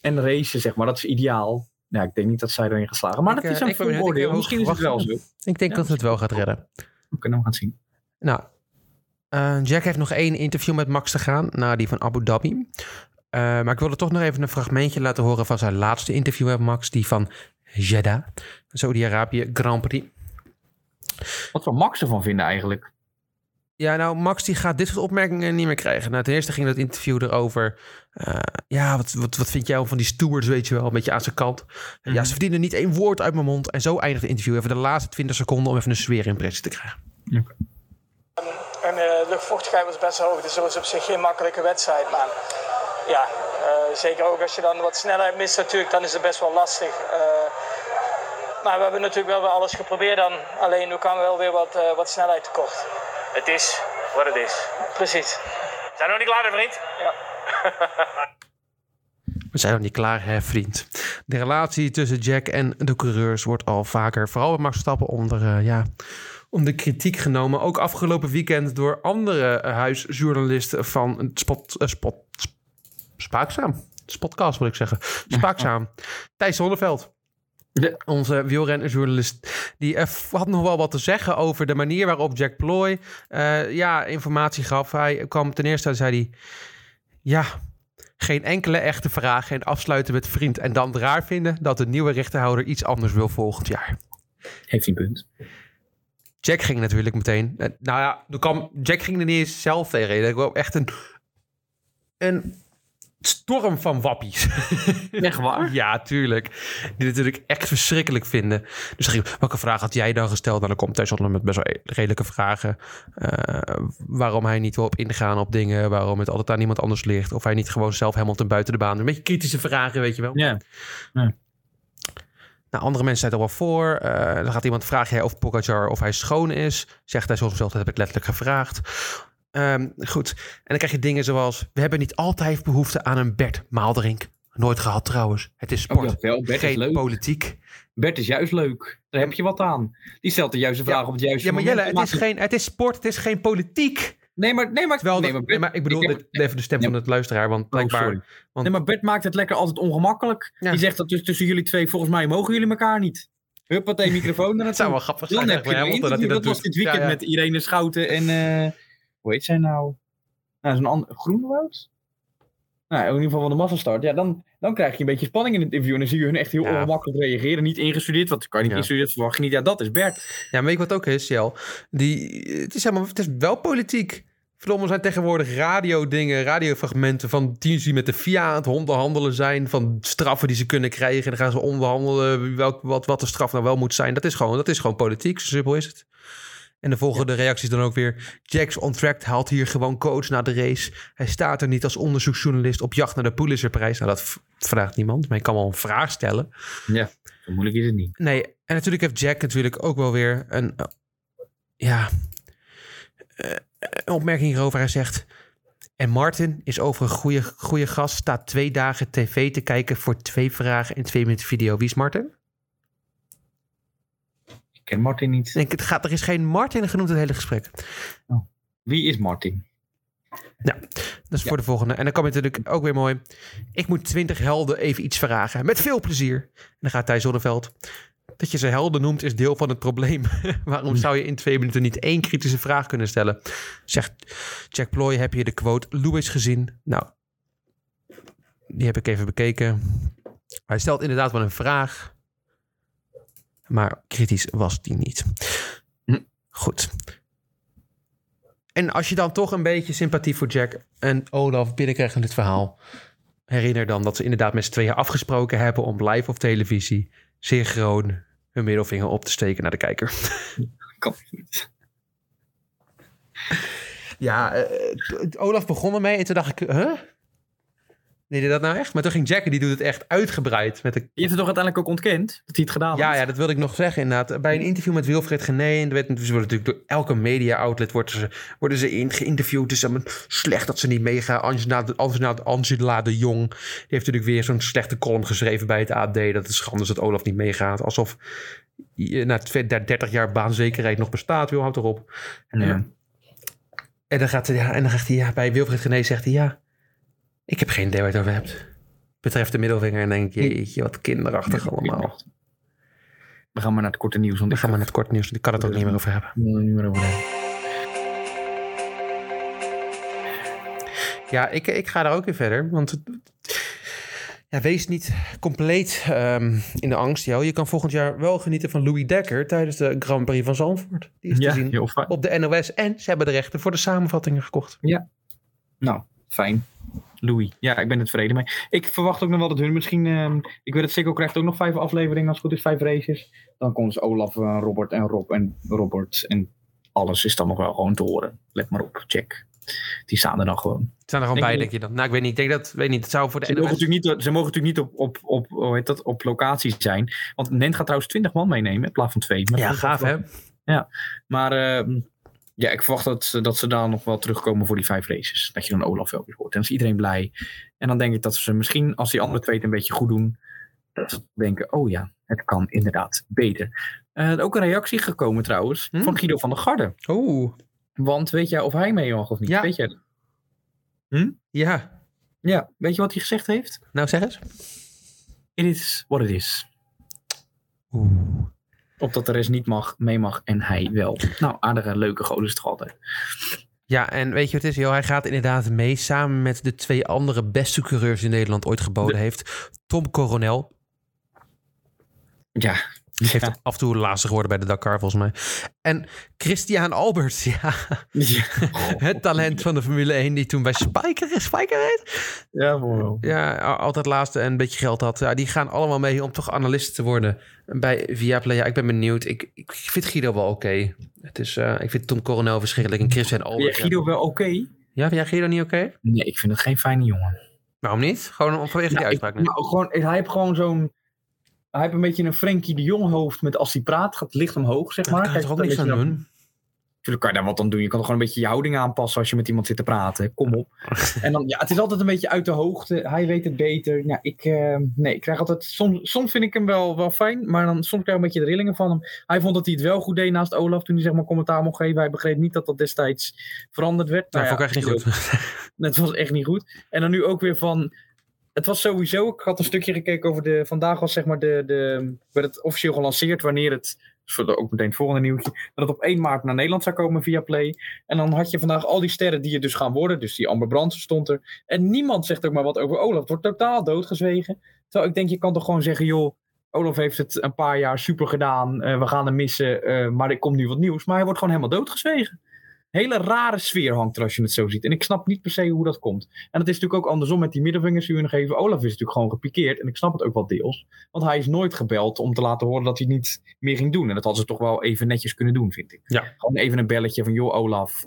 [SPEAKER 1] en racen, zeg maar. Dat is ideaal. Nou, ik denk niet dat zij erin geslagen. Maar
[SPEAKER 2] Ik,
[SPEAKER 1] dat
[SPEAKER 2] eh,
[SPEAKER 1] is een
[SPEAKER 2] ik ben benieuwd. Ik
[SPEAKER 1] vooroordeel.
[SPEAKER 2] heb
[SPEAKER 1] Misschien is het wel zo.
[SPEAKER 2] hoge ik denk
[SPEAKER 1] Ja,
[SPEAKER 2] dat ze het wel gaat redden.
[SPEAKER 1] We kunnen gaan het zien.
[SPEAKER 2] Nou, eh, Jack heeft nog één interview met Max te gaan, na die van Abu Dhabi. Eh, maar ik wilde toch nog even een fragmentje laten horen van zijn laatste interview met Max, die van Jeddah, Saudi-Arabië Grand Prix.
[SPEAKER 1] Wat zou Max ervan vinden eigenlijk?
[SPEAKER 2] Ja, nou, Max die gaat dit soort opmerkingen niet meer krijgen. Nou, ten eerste ging dat interview erover. eh, ja, wat, wat, wat vind jij van die stewards, weet je wel, een beetje aan zijn kant. Ja, ze verdienen niet één woord uit mijn mond. En zo eindigt het interview. Even de laatste 20 seconden om even een sfeerimpressie te krijgen.
[SPEAKER 11] En eh, de luchtvochtigheid was best hoog, dus dat was op zich geen makkelijke wedstrijd. Maar ja, eh, zeker ook als je dan wat snelheid mist natuurlijk, dan is het best wel lastig. Eh, maar we hebben natuurlijk wel weer alles geprobeerd dan. Alleen we kwamen wel weer wat, eh, wat snelheid tekort.
[SPEAKER 4] Het is wat het is.
[SPEAKER 11] Precies.
[SPEAKER 4] Zijn we nog niet klaar, hè, vriend?
[SPEAKER 2] We zijn nog niet klaar, hè, vriend. De relatie tussen Jack en de coureurs wordt al vaker, vooral bij Max Verstappen, onder, eh, ja, onder kritiek genomen. Ook afgelopen weekend door andere eh, huisjournalisten van het Spot, eh, spot Sp- Spaakzaam. Spotcast wil ik zeggen. Spaakzaam. Thijs Zonneveld.
[SPEAKER 1] Ja.
[SPEAKER 2] Onze wielrennerjournalist. Die eh, had nog wel wat te zeggen over de manier waarop Jack Ploy eh, ja, informatie gaf. Hij kwam ten eerste en zei hij... Ja, geen enkele echte vraag en afsluiten met vriend. En dan raar vinden dat de nieuwe rechterhouder iets anders wil volgend jaar.
[SPEAKER 1] Heeft hij een punt.
[SPEAKER 2] Jack ging natuurlijk meteen. eh, Nou ja, er kwam, Jack ging er niet eens zelf tegen. Er kwam echt een, een storm van wappies.
[SPEAKER 1] Echt waar?
[SPEAKER 2] Ja, tuurlijk. Die het natuurlijk echt verschrikkelijk vinden. Dus ging, welke vraag had jij dan gesteld? Nou, dan komt Thijs Hollander met best wel redelijke vragen. Eh, waarom hij niet wil op ingaan op dingen. Waarom het altijd aan iemand anders ligt. Of hij niet gewoon zelf helemaal ten buiten de baan. Een beetje kritische vragen, weet je wel.
[SPEAKER 1] Ja.
[SPEAKER 2] Nou, andere mensen zijn er wel voor. Eh, dan gaat iemand vragen hè, of Pogacar of hij schoon is. Zegt hij soms zelf, dat heb ik letterlijk gevraagd. Ehm, goed, en dan krijg je dingen zoals... We hebben niet altijd behoefte aan een Bert Maaldrink. Nooit gehad trouwens. Het is sport,
[SPEAKER 1] dat wel. Oh, Bert is
[SPEAKER 2] geen
[SPEAKER 1] leuk. Dus
[SPEAKER 2] politiek.
[SPEAKER 1] Bert is juist leuk. Daar heb je wat aan. Die stelt de juiste vraag op het juiste
[SPEAKER 2] Ja, maar
[SPEAKER 1] moment.
[SPEAKER 2] Jelle, het
[SPEAKER 1] Maakt
[SPEAKER 2] is, geen, het is sport, het is geen politiek.
[SPEAKER 1] Nee, maar... Nee, maar,
[SPEAKER 2] Terwijl
[SPEAKER 1] nee,
[SPEAKER 2] dat-
[SPEAKER 1] maar,
[SPEAKER 2] nee,
[SPEAKER 1] Bert-
[SPEAKER 2] maar ik bedoel,
[SPEAKER 1] ik heb-
[SPEAKER 2] dit- even de stem
[SPEAKER 1] Ja.
[SPEAKER 2] van het luisteraar, want
[SPEAKER 1] Oh,
[SPEAKER 2] blijkbaar...
[SPEAKER 1] sorry.
[SPEAKER 2] Want-
[SPEAKER 1] Nee, maar Bert maakt het lekker altijd ongemakkelijk.
[SPEAKER 2] Ja.
[SPEAKER 1] Die zegt dat dus tussen jullie twee, volgens mij mogen jullie elkaar niet. Huppatee, microfoon naar
[SPEAKER 2] het
[SPEAKER 1] het
[SPEAKER 2] zou wel grappig zijn
[SPEAKER 1] Dan heb je
[SPEAKER 2] eigenlijk
[SPEAKER 1] een
[SPEAKER 2] bij Hamilton
[SPEAKER 1] interview. Dat, was
[SPEAKER 2] doet.
[SPEAKER 1] dit weekend
[SPEAKER 2] Ja, ja.
[SPEAKER 1] met Irene Schouten en... eh, hoe heet zij nou? nou is een ander- Groenewald? nou, in ieder geval van de massastart, ja, dan, dan krijg je een beetje spanning in het interview. En dan zie je hun echt heel ongemakkelijk reageren. Niet ingestudeerd, want dat kan je niet
[SPEAKER 2] Ja.
[SPEAKER 1] ingestudeerd verwachten. Niet, ja, dat is Bert.
[SPEAKER 2] Ja, maar weet je wat ook is, Jel? Die, het, is helemaal, het is wel politiek. Verdomme, er zijn tegenwoordig radiodingen, radiofragmenten van teams die met de FIA aan het onderhandelen zijn. Van straffen die ze kunnen krijgen. En dan gaan ze onderhandelen welk, wat, wat de straf nou wel moet zijn. Dat is gewoon, dat is gewoon politiek, zo simpel is het. En dan volgen de reacties dan ook weer. Jacks on track haalt hier gewoon coach na de race. Hij staat er niet als onderzoeksjournalist op jacht naar de Pulitzerprijs. Nou, dat v- vraagt niemand, maar je kan wel een vraag stellen.
[SPEAKER 1] Ja, zo moeilijk is het niet.
[SPEAKER 2] Nee, en natuurlijk heeft Jack natuurlijk ook wel weer een... eh, ja... eh, een opmerking hierover. Hij zegt... En Martin is over een goede, goede gast. Staat twee dagen tv te kijken voor twee vragen en twee minuten video. Wie is Martin?
[SPEAKER 1] Ik ken Martin niet.
[SPEAKER 2] Denk, het gaat, er is geen Martin genoemd in het hele gesprek.
[SPEAKER 1] Wie is Martin?
[SPEAKER 2] Nou, dat is voor de volgende. En dan kan je natuurlijk ook weer mooi. Ik moet twintig helden even iets vragen. Met veel plezier. En dan gaat Thijs Zonneveld. Dat je ze helden noemt is deel van het probleem. Waarom zou je in twee minuten niet één kritische vraag kunnen stellen? Zegt Jack Ploy, heb je de quote Lewis gezien? Nou, die heb ik even bekeken. Hij stelt inderdaad wel een vraag. Maar kritisch was die niet. Goed. En als je dan toch een beetje sympathie voor Jack en Olaf binnenkrijgt in dit verhaal. Herinner dan dat ze inderdaad met z'n tweeën afgesproken hebben om live op televisie synchroon hun middelvinger op te steken naar de kijker.
[SPEAKER 1] Kan
[SPEAKER 2] Ja, eh, t- Olaf begon ermee en toen dacht ik, huh? Deed hij dat nou echt? Maar toen ging Jack en die doet het echt uitgebreid. Met de... Je
[SPEAKER 1] hebt het toch uiteindelijk ook ontkend dat hij het gedaan
[SPEAKER 2] ja, Ja, dat wilde ik nog zeggen inderdaad. Bij een interview met Wilfred Gené, en er werd- ze worden natuurlijk door elke media outlet wordt ze, worden ze in, geïnterviewd. Het is allemaal slecht dat ze niet meegaan. Angela, de- Angela, Angela de Jong die heeft natuurlijk weer zo'n slechte column geschreven bij het AD. Dat is schande is dat Olaf niet meegaat. Alsof je na twe- na 30 jaar baanzekerheid nog bestaat. Wil houdt erop. En, eh, en dan gaat hij, ja, en dan zegt hij, ja, bij Wilfred Gené zegt hij, ja, ik heb geen idee waar je het over hebt. Betreft de middelvinger en denk ik, jeetje, wat kinderachtig allemaal.
[SPEAKER 1] We gaan maar naar het korte nieuws. Want
[SPEAKER 2] We gaan maar naar het korte nieuws, want ik kan het ook niet meer over hebben.
[SPEAKER 1] niet meer over hebben.
[SPEAKER 2] Ja, ik, ik ga daar ook weer verder, want... het- Ja, wees niet compleet ehm, in de angst, Jo. Je kan volgend jaar wel genieten van Louis Dekker tijdens de Grand Prix van Zandvoort. Die is
[SPEAKER 1] Ja,
[SPEAKER 2] te zien
[SPEAKER 1] heel fijn.
[SPEAKER 2] op de NOS. En ze hebben de rechten voor de samenvattingen gekocht.
[SPEAKER 1] Ja. Nou, fijn. Louis. Ja, ik ben het tevreden mee. Ik verwacht ook nog wel dat hun misschien... ehm, ik weet dat Sikko krijgt ook nog vijf afleveringen als het goed is. Vijf races. Dan komt dus Olaf, eh, Robert en Rob en Robert. En alles is dan nog wel gewoon te horen. Let maar op. Check. Die staan er dan gewoon.
[SPEAKER 2] Ze staan er gewoon
[SPEAKER 1] Denk
[SPEAKER 2] bij,
[SPEAKER 1] je-
[SPEAKER 2] denk je dan? Nou, ik weet niet. Ik denk dat, weet niet. Het zou voor de
[SPEAKER 1] Ze mogen
[SPEAKER 2] NOS...
[SPEAKER 1] natuurlijk niet, ze mogen natuurlijk niet op, op, op, hoe heet dat, op locatie zijn. Want Nent gaat trouwens 20 man meenemen in plaats van twee. Maar
[SPEAKER 2] Ja,
[SPEAKER 1] dat is
[SPEAKER 2] gaaf,
[SPEAKER 1] wel-
[SPEAKER 2] hè?
[SPEAKER 1] Ja, maar ehm, ja, ik verwacht dat, ze- dat ze daar nog wel terugkomen voor die vijf races. Dat je dan Olaf wel weer hoort. En dan is iedereen blij. En dan denk ik dat ze misschien, als die andere twee het een beetje goed doen, dat ze denken, oh ja, het kan inderdaad beter. Eh, Er is ook een reactie gekomen trouwens,
[SPEAKER 2] Hm?
[SPEAKER 1] van Guido van der Garde.
[SPEAKER 2] Oeh.
[SPEAKER 1] Want weet jij of hij mee mag of niet?
[SPEAKER 2] Ja.
[SPEAKER 1] Weet jij dat? Hm?
[SPEAKER 2] Ja.
[SPEAKER 1] Ja, weet je wat hij gezegd heeft?
[SPEAKER 2] Nou, zeg eens.
[SPEAKER 1] It is what it is. Oeh. Opdat de rest niet mag, mee mag en hij wel. Nou, aardige, leuke gozer is het toch altijd.
[SPEAKER 2] Ja, en weet je wat het is, joh? Hij gaat inderdaad mee samen met de twee andere beste coureurs die Nederland ooit geboden heeft. Tom Coronel.
[SPEAKER 1] Ja.
[SPEAKER 2] Die heeft af en toe laatste geworden bij de Dakar, volgens mij. En Christian Albert, ja.
[SPEAKER 1] Oh.
[SPEAKER 2] Het talent van de Formule 1 die toen bij Spijker, Spijker heet.
[SPEAKER 1] Ja, wow.
[SPEAKER 2] Ja, a- altijd laatste en een beetje geld had. Ja, die gaan allemaal mee om toch analist te worden bij Viaplay. Ja, ik ben benieuwd. Ik, ik vind Guido wel oké. Het is, eh, ik vind Tom Coronel verschrikkelijk en Christian
[SPEAKER 1] Vind jij
[SPEAKER 2] Albert.
[SPEAKER 1] Guido wel oké?
[SPEAKER 2] Ja, vind jij Guido niet oké?
[SPEAKER 1] Nee, ik vind het geen fijne jongen.
[SPEAKER 2] Waarom niet? Gewoon om- vanwege die
[SPEAKER 1] Nou, ik-
[SPEAKER 2] uitspraak. net.
[SPEAKER 1] nou, gewoon, hij heeft gewoon zo'n... Hij heeft een beetje een Frenkie de Jong hoofd met als hij praat, gaat het licht omhoog, zeg maar.
[SPEAKER 2] kan je
[SPEAKER 1] Kijk,
[SPEAKER 2] toch ook niks
[SPEAKER 1] dat je
[SPEAKER 2] aan
[SPEAKER 1] dan-
[SPEAKER 2] doen?
[SPEAKER 1] Natuurlijk kan je daar wat aan doen. Je kan toch gewoon een beetje je houding aanpassen als je met iemand zit te praten. Kom op. En dan, ja, het is altijd een beetje uit de hoogte. Hij weet het beter. Nou, ik, eh, nee, ik krijg altijd, soms, soms vind ik hem wel, wel fijn, maar dan soms krijg ik een beetje de rillingen van hem. Hij vond dat hij het wel goed deed naast Olaf toen hij zeg maar commentaar mocht geven. Hij begreep niet dat dat destijds veranderd werd.
[SPEAKER 2] Nou,
[SPEAKER 1] Nou
[SPEAKER 2] vond ik echt
[SPEAKER 1] ja,
[SPEAKER 2] niet goed.
[SPEAKER 1] Het was echt niet goed. En dan nu ook weer van. Het was sowieso. Ik had een stukje gekeken over de. Vandaag was zeg maar de. de werd het officieel gelanceerd wanneer het Dus voor de- ook meteen het volgende nieuwtje. Dat het op 1 maart naar Nederland zou komen via Play. En dan had je vandaag al die sterren die er dus gaan worden. Dus die Amber Brandsen stond er. En niemand zegt ook maar wat over Olaf. Het wordt totaal doodgezwegen. Terwijl ik denk, je kan toch gewoon zeggen, joh, Olaf heeft het een paar jaar super gedaan. eh, we gaan hem missen, eh, maar er komt nu wat nieuws. Maar hij wordt gewoon helemaal doodgezwegen. Hele rare sfeer hangt er als je het zo ziet. En ik snap niet per se hoe dat komt. En het is natuurlijk ook andersom met die middelvingers die hun geven. Olaf is natuurlijk gewoon gepikeerd. En ik snap het ook wel deels. Want hij is nooit gebeld om te laten horen dat hij het niet meer ging doen. En dat hadden ze toch wel even netjes kunnen doen, vind ik.
[SPEAKER 2] Ja.
[SPEAKER 1] Gewoon even een belletje van, joh Olaf,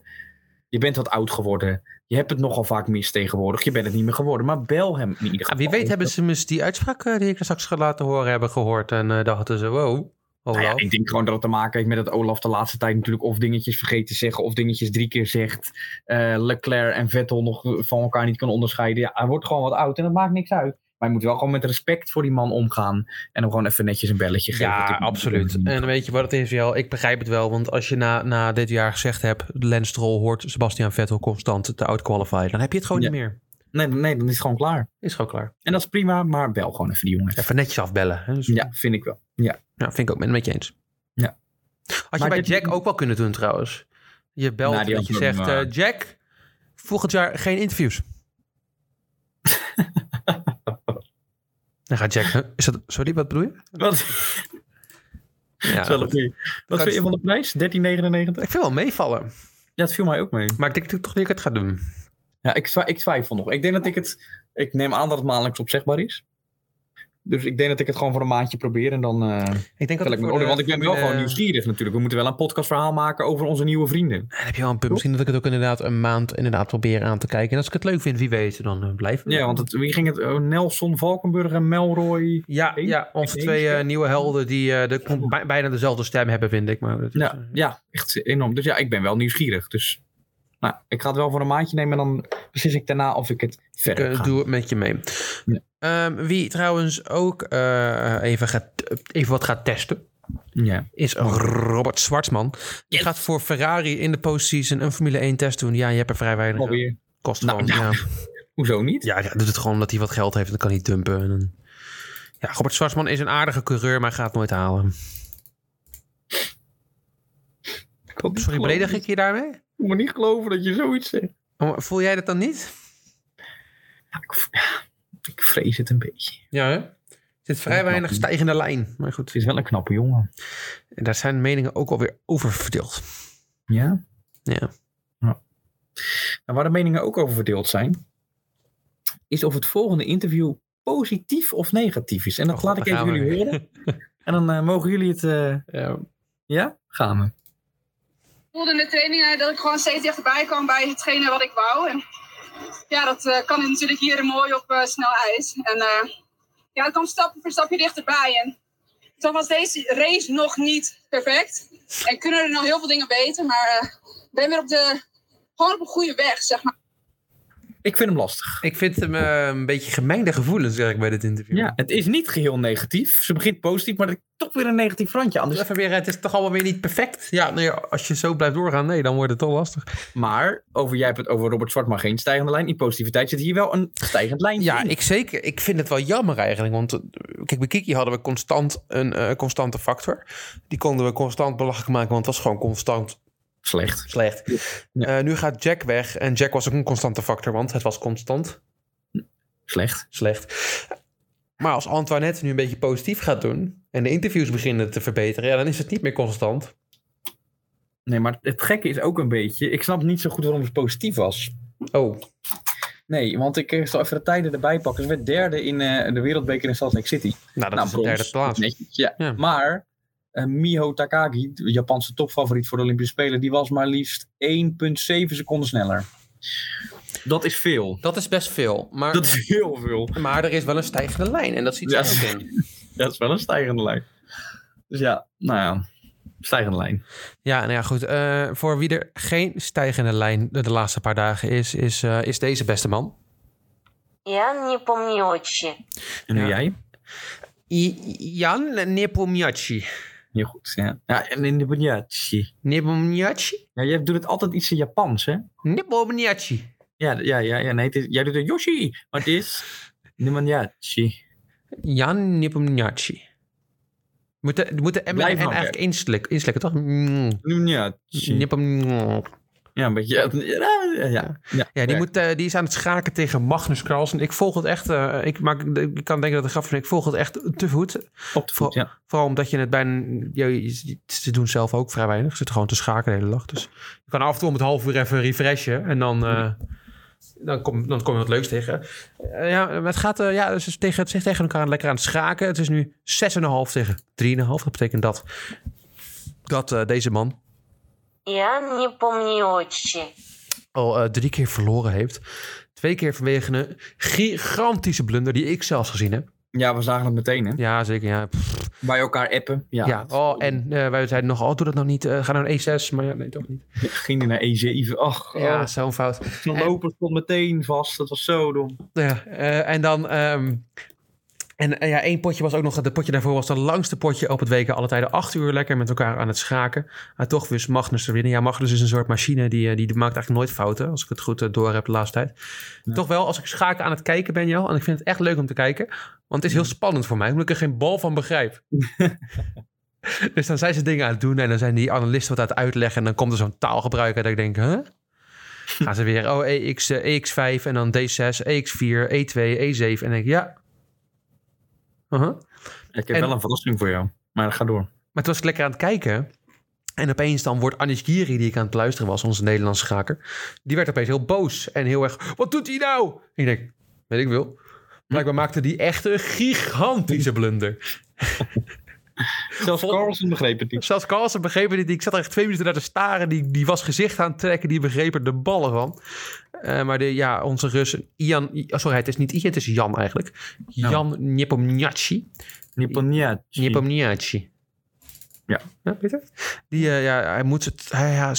[SPEAKER 1] je bent wat oud geworden. Je hebt het nogal vaak mis tegenwoordig. Je bent het niet meer geworden. Maar bel hem in ieder geval.
[SPEAKER 2] Ah, Wie weet hebben ze mis die uitspraak eh, die ik er straks ga laten horen hebben gehoord. En eh, dachten ze, wow, Olaf.
[SPEAKER 1] Nou ja, ik denk gewoon dat het te maken heeft met dat Olaf de laatste tijd natuurlijk of dingetjes vergeet te zeggen, of dingetjes drie keer zegt. Eh, Leclerc en Vettel nog van elkaar niet kan onderscheiden. Ja, hij wordt gewoon wat oud en dat maakt niks uit. Maar je moet wel gewoon met respect voor die man omgaan. En hem gewoon even netjes een belletje geven.
[SPEAKER 2] Ja,
[SPEAKER 1] natuurlijk.
[SPEAKER 2] absoluut. En weet je wat het is, Jel? Ik begrijp het wel. Want als je na, na dit jaar gezegd hebt... Lens Stroll hoort Sebastian Vettel constant te outqualified... dan heb je het gewoon
[SPEAKER 1] Ja.
[SPEAKER 2] niet meer.
[SPEAKER 1] Nee, nee, dan is het gewoon klaar.
[SPEAKER 2] Is gewoon klaar.
[SPEAKER 1] En dat is prima, maar bel gewoon even die jongen.
[SPEAKER 2] Even netjes afbellen. Hè? Dus-
[SPEAKER 1] Ja, vind ik wel. Ja.
[SPEAKER 2] Ja, vind ik ook. Ben het met je eens.
[SPEAKER 1] Ja.
[SPEAKER 2] Had je
[SPEAKER 1] Maar
[SPEAKER 2] bij
[SPEAKER 1] dit-
[SPEAKER 2] Jack ook wel kunnen doen trouwens. Je belt
[SPEAKER 1] Nou, die
[SPEAKER 2] en je
[SPEAKER 1] had ik ook,
[SPEAKER 2] zegt...
[SPEAKER 1] maar-
[SPEAKER 2] eh, Jack, volgend jaar geen interviews. Dan gaat Jack... huh? Is dat, sorry, wat bedoel je?
[SPEAKER 1] Wat?
[SPEAKER 2] Ja,
[SPEAKER 1] Dat is wel
[SPEAKER 2] goed.
[SPEAKER 1] een goeie. Wat vind je van de prijs? 13,99?
[SPEAKER 2] Ik vind wel meevallen.
[SPEAKER 1] Ja, het viel mij ook mee.
[SPEAKER 2] Maar ik denk toch dat ik het ga doen.
[SPEAKER 1] Ja, ik, twi- ik twijfel nog. Ik denk dat ik het... Ik neem aan dat het maandelijks opzegbaar is. Dus ik denk dat ik het gewoon voor een maandje probeer en dan... eh, tel
[SPEAKER 2] Ik denk dat het
[SPEAKER 1] ik me
[SPEAKER 2] voor de-
[SPEAKER 1] orde, want ik ben wel
[SPEAKER 2] voor de-
[SPEAKER 1] gewoon nieuwsgierig natuurlijk. We moeten wel een podcastverhaal maken over onze nieuwe vrienden.
[SPEAKER 2] Dan heb je wel een punt. Misschien dat ik het ook inderdaad een maand inderdaad probeer aan te kijken. En als ik het leuk vind, wie weet, dan eh, blijven we.
[SPEAKER 1] Ja, want het, wie ging het? Eh, Nelson, Valkenburg en Melroy.
[SPEAKER 2] Ja, ja onze twee eh, nieuwe helden die eh, de, kom- bij- bijna dezelfde stem hebben, vind ik. Maar dat is, eh,
[SPEAKER 1] Ja, ja, echt enorm. Dus ja, ik ben wel nieuwsgierig. Dus nou, ik ga het wel voor een maandje nemen en dan beslis ik daarna of ik het
[SPEAKER 2] ik
[SPEAKER 1] verder
[SPEAKER 2] eh,
[SPEAKER 1] ga.
[SPEAKER 2] doe het met je mee. Ehm, wie trouwens ook eh, even, gaat, even wat gaat testen,
[SPEAKER 1] Ja.
[SPEAKER 2] is Robert Zwartsman. Die gaat voor Ferrari in de postseason een Formule 1 test doen. Ja, je hebt er vrij weinig.
[SPEAKER 1] Alweer. Nou,
[SPEAKER 2] Kost gewoon, ja.
[SPEAKER 1] Hoezo niet?
[SPEAKER 2] Ja, hij doet het gewoon omdat hij wat geld heeft. Dan kan hij dumpen. En dan... Ja, Robert Zwartsman is een aardige coureur, maar hij gaat het nooit halen. Sorry, beledig ik je daarmee?
[SPEAKER 1] Ik moet me niet geloven dat je zoiets zegt.
[SPEAKER 2] Oh, maar Voel jij dat dan niet?
[SPEAKER 1] Ik vrees het een beetje.
[SPEAKER 2] Ja, hè? Er zit vrij weinig stijgende lijn. Maar goed. Het
[SPEAKER 1] is wel een knappe jongen.
[SPEAKER 2] En daar zijn meningen ook alweer over verdeeld.
[SPEAKER 1] Ja?
[SPEAKER 2] Ja.
[SPEAKER 1] En waar de meningen ook over verdeeld zijn, is of het volgende interview positief of negatief is. En dat laat ik
[SPEAKER 2] Oh, daar
[SPEAKER 1] even
[SPEAKER 2] gaan we
[SPEAKER 1] jullie horen. En dan eh, mogen jullie het... eh, ja? Gaan we.
[SPEAKER 12] voelde in de trainingen dat ik gewoon steeds dichterbij kwam bij hetgene wat ik wou. En ja, dat eh, kan natuurlijk hier mooi op eh, snel ijs. En eh, ja, het kwam stapje voor stapje dichterbij. En toch was deze race nog niet perfect. En kunnen er nog heel veel dingen beter, maar eh, ik ben weer op de, gewoon op een goede weg, zeg maar.
[SPEAKER 1] Ik vind hem lastig.
[SPEAKER 2] Ik vind hem eh, een beetje gemengde gevoelens, zeg ik bij dit interview.
[SPEAKER 1] Ja, het is niet geheel negatief. Ze begint positief, maar er is toch weer een negatief randje. Anders...
[SPEAKER 2] Even weer, het is toch allemaal weer niet perfect. Ja, nou ja, als je zo blijft doorgaan, nee, dan wordt het toch lastig.
[SPEAKER 1] Maar over, jij hebt het over Robert Zwart, maar geen stijgende lijn. In positiviteit zit hier wel een stijgend lijn.
[SPEAKER 2] Ja, ik zeker. Ik vind het wel jammer eigenlijk. Want eh, kijk, bij Kiki hadden we constant een eh, constante factor. Die konden we constant belachelijk maken, want het was gewoon constant
[SPEAKER 1] slecht.
[SPEAKER 2] slecht. Eh, nu gaat Jack weg. En Jack was ook een constante factor, want het was constant
[SPEAKER 1] slecht.
[SPEAKER 2] slecht. Maar als Antoinette nu een beetje positief gaat doen en de interviews beginnen te verbeteren, ja, dan is het niet meer constant.
[SPEAKER 1] Nee, maar het gekke is ook een beetje. Ik snap niet zo goed waarom het positief was.
[SPEAKER 2] Oh.
[SPEAKER 1] Nee, want ik eh, zal even de tijden erbij pakken. Ze werd derde in eh, de Wereldbeker in Salt Lake City.
[SPEAKER 2] Nou, dat is de
[SPEAKER 1] brons.
[SPEAKER 2] derde plaats.
[SPEAKER 1] Netjes, ja. Maar eh, Miho Takagi, de Japanse topfavoriet voor de Olympische Spelen, die was maar liefst 1,7 seconden sneller. Dat is veel.
[SPEAKER 2] Dat is best veel. Maar,
[SPEAKER 1] dat is heel veel.
[SPEAKER 2] Maar er is wel een stijgende lijn en dat ziet ze
[SPEAKER 1] Ja,
[SPEAKER 2] ook in.
[SPEAKER 1] dat is wel een stijgende lijn. Dus ja, nou ja, stijgende lijn.
[SPEAKER 2] Ja, nou ja, goed. Eh, voor wie er geen stijgende lijn de, de laatste paar dagen is, is, eh, is deze beste man.
[SPEAKER 13] Я не помню очень.
[SPEAKER 1] En nu jij?
[SPEAKER 2] I- Jan Nepomniachtchi.
[SPEAKER 1] Heel goed, ja. Ja, en in de Bunyachi. Ja, jij doet het altijd iets in Japans, hè?
[SPEAKER 2] Nepomniachtchi.
[SPEAKER 1] Ja, d- ja, ja, ja. Nee, het is, jij doet een Yoshi, maar het is Nebunyachi.
[SPEAKER 2] Jan Nepomniachtchi. Moeten, moeten M en N
[SPEAKER 1] Blijf hangen.
[SPEAKER 2] eigenlijk inslikken, inslikken toch? Mm.
[SPEAKER 1] Ja,
[SPEAKER 2] Nip hem.
[SPEAKER 1] Ja, een beetje. Ja, ja, ja,
[SPEAKER 2] Ja, die, moet, eh, die is aan het schaken tegen Magnus Carlsen. Ik volg het echt. eh, ik, maak, ik kan denken dat het grap is, maar ik volg het echt te voet.
[SPEAKER 1] Op de voet, ja.
[SPEAKER 2] Vooral omdat je het bijna... ja, je- ze doen zelf ook vrij weinig. Ze zitten gewoon te schaken de hele dag. Dus je kan af en toe om het half uur even refreshen. En dan, eh, dan, kom, dan kom je wat leuks tegen. Eh, ja, maar het gaat... eh, ja, ze is tegen, het is tegen elkaar lekker aan het schaken. Het is nu 6,5 tegen 3,5. Dat betekent dat, dat eh, deze man
[SPEAKER 13] Я не помню очень.
[SPEAKER 2] al eh, drie keer verloren heeft. Twee keer vanwege een gigantische blunder die ik zelfs gezien heb.
[SPEAKER 1] Ja, we zagen het meteen, hè?
[SPEAKER 2] Ja, zeker. Ja. Pff,
[SPEAKER 1] Bij elkaar appen. Ja.
[SPEAKER 2] ja. Oh, en eh, wij zeiden nog, oh, doe dat nou niet. eh, ga naar een E6. Maar ja, nee, toch niet.
[SPEAKER 1] Ging hij naar E E7. Ach,
[SPEAKER 2] Ja,
[SPEAKER 1] oh.
[SPEAKER 2] zo'n fout.
[SPEAKER 1] Zo'n loper stond meteen vast. Dat was zo dom.
[SPEAKER 2] Ja, eh, en dan... ehm, en eh, ja, één potje was ook nog... De potje daarvoor was het langste potje op het weken. Alle tijden acht uur lekker met elkaar aan het schaken. Maar toch wist Magnus te winnen. Ja, Magnus is een soort machine. Die, eh, die maakt eigenlijk nooit fouten. Als ik het goed eh, door heb de laatste tijd. Toch wel, als ik schaken aan het kijken ben, Jel. En ik vind het echt leuk om te kijken. Want het is heel spannend voor mij. Omdat ik er geen bal van begrijp. dus dan zijn ze dingen aan het doen. En dan zijn die analisten wat aan het uitleggen. En dan komt er zo'n taalgebruik. En dan denk ik, huh? gaan ze weer, oh, EX, eh, EX5 en dan E D6, EX4, E2, E7. E En dan denk ik, ja. Uh-huh.
[SPEAKER 1] Ik heb
[SPEAKER 2] En-
[SPEAKER 1] wel een verrassing voor jou. Maar ga door.
[SPEAKER 2] Maar toen was ik lekker aan het kijken. En opeens dan wordt Anish Giri, die ik aan het luisteren was, onze Nederlandse schaker. Die werd opeens heel boos en heel erg, wat doet hij nou? En ik denk, weet ik wel. Blijkbaar maakte die echt een gigantische blunder.
[SPEAKER 1] Zelfs Carlsen begreep het niet.
[SPEAKER 2] Zelfs Carlsen begreep het niet. Ik zat er echt twee minuten naar te staren. Die, die was gezicht aan het trekken. Die begreep er de ballen van. Eh, maar de, ja, onze Rus, Ian... I- oh, sorry, het is niet Ian, het is Jan eigenlijk. Jan Nepomniachtchi.
[SPEAKER 1] Nepomniachtchi.
[SPEAKER 2] Nepomniachtchi.
[SPEAKER 1] Ja.
[SPEAKER 2] Peter? Die, eh, ja, hij moet het, hij, ja,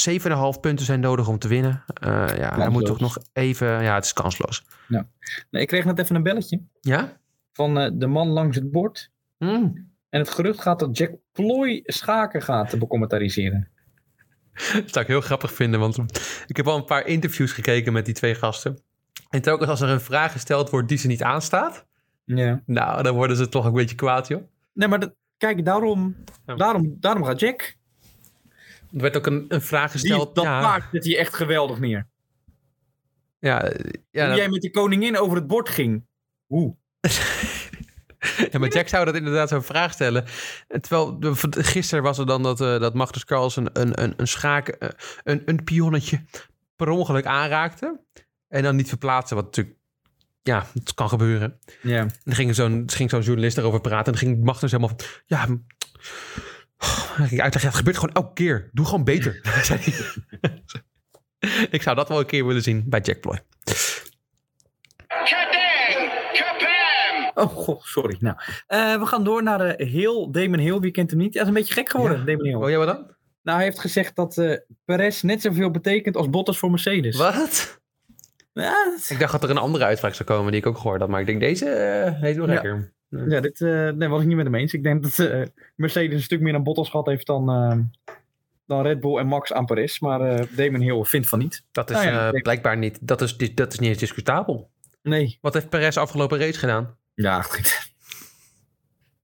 [SPEAKER 2] 7,5 punten zijn nodig om te winnen. Eh, ja, hij moet
[SPEAKER 1] Kansloos.
[SPEAKER 2] toch nog even... Ja, het is kansloos.
[SPEAKER 1] Ja. Nee, ik kreeg net even een belletje.
[SPEAKER 2] Ja? Hmm.
[SPEAKER 1] Van eh, de man langs het bord. En het gerucht gaat dat Jack Ploy schaken gaat becommentariseren.
[SPEAKER 2] Dat zou ik heel grappig vinden, want ik heb al een paar interviews gekeken met die twee gasten. En telkens als er een vraag gesteld wordt die ze niet aanstaat,
[SPEAKER 1] Ja.
[SPEAKER 2] nou, dan worden ze toch ook een beetje kwaad, joh.
[SPEAKER 1] Nee, maar dat- kijk, daarom, daarom, daarom gaat Jack.
[SPEAKER 2] Er werd ook een, een vraag
[SPEAKER 1] Die,
[SPEAKER 2] gesteld.
[SPEAKER 1] dat
[SPEAKER 2] ja,
[SPEAKER 1] paard zit hier echt geweldig neer.
[SPEAKER 2] ja, eh, ja,
[SPEAKER 1] Hoe
[SPEAKER 2] dat-
[SPEAKER 1] jij met die koningin over het bord ging. Hoe?
[SPEAKER 2] ja, maar Jack zou dat inderdaad zo'n vraag stellen. En Terwijl de- van- gisteren was er dan dat, eh, dat Magnus Carlsen een, een, een schaak, eh, een, een pionnetje per ongeluk aanraakte. En dan niet verplaatsen, wat natuurlijk, ja, het kan gebeuren.
[SPEAKER 1] Ja.
[SPEAKER 2] En dan ging zo'n ging zo'n journalist erover praten. En dan ging Magnus helemaal van, ja... hm, oh, m- Hij ging uitleggen, ja, het gebeurt gewoon elke keer. Doe gewoon beter. zei hij. ik zou dat wel een keer willen zien bij Jack Ploy.
[SPEAKER 1] Oh, goh, sorry. Nou, eh, we gaan door naar eh heel Damon Hill. Wie kent hem niet? Hij is een beetje gek geworden, Damon Hill. Oh
[SPEAKER 2] ja, wat dan?
[SPEAKER 1] Nou, hij heeft gezegd dat eh Perez net zoveel betekent als Bottas voor Mercedes.
[SPEAKER 2] Wat? Dus Ik dacht dat er een andere uitspraak zou komen die ik ook gehoord had. Maar ik denk, deze eh heeft nog
[SPEAKER 1] Ja.
[SPEAKER 2] lekker.
[SPEAKER 1] Ja, dit eh, nee, was ik niet met hem eens. Ik denk dat eh, Mercedes een stuk meer aan Bottas gehad heeft dan, eh, dan Red Bull en Max aan Perez. Maar eh, Damon Hill vindt van niet.
[SPEAKER 2] Dat is
[SPEAKER 1] Nou ja,
[SPEAKER 2] eh,
[SPEAKER 1] ik denk-
[SPEAKER 2] blijkbaar niet. Dat is, dit- dat is niet eens discutabel.
[SPEAKER 1] Nee.
[SPEAKER 2] Wat heeft Perez afgelopen race gedaan?
[SPEAKER 1] Ja, goed.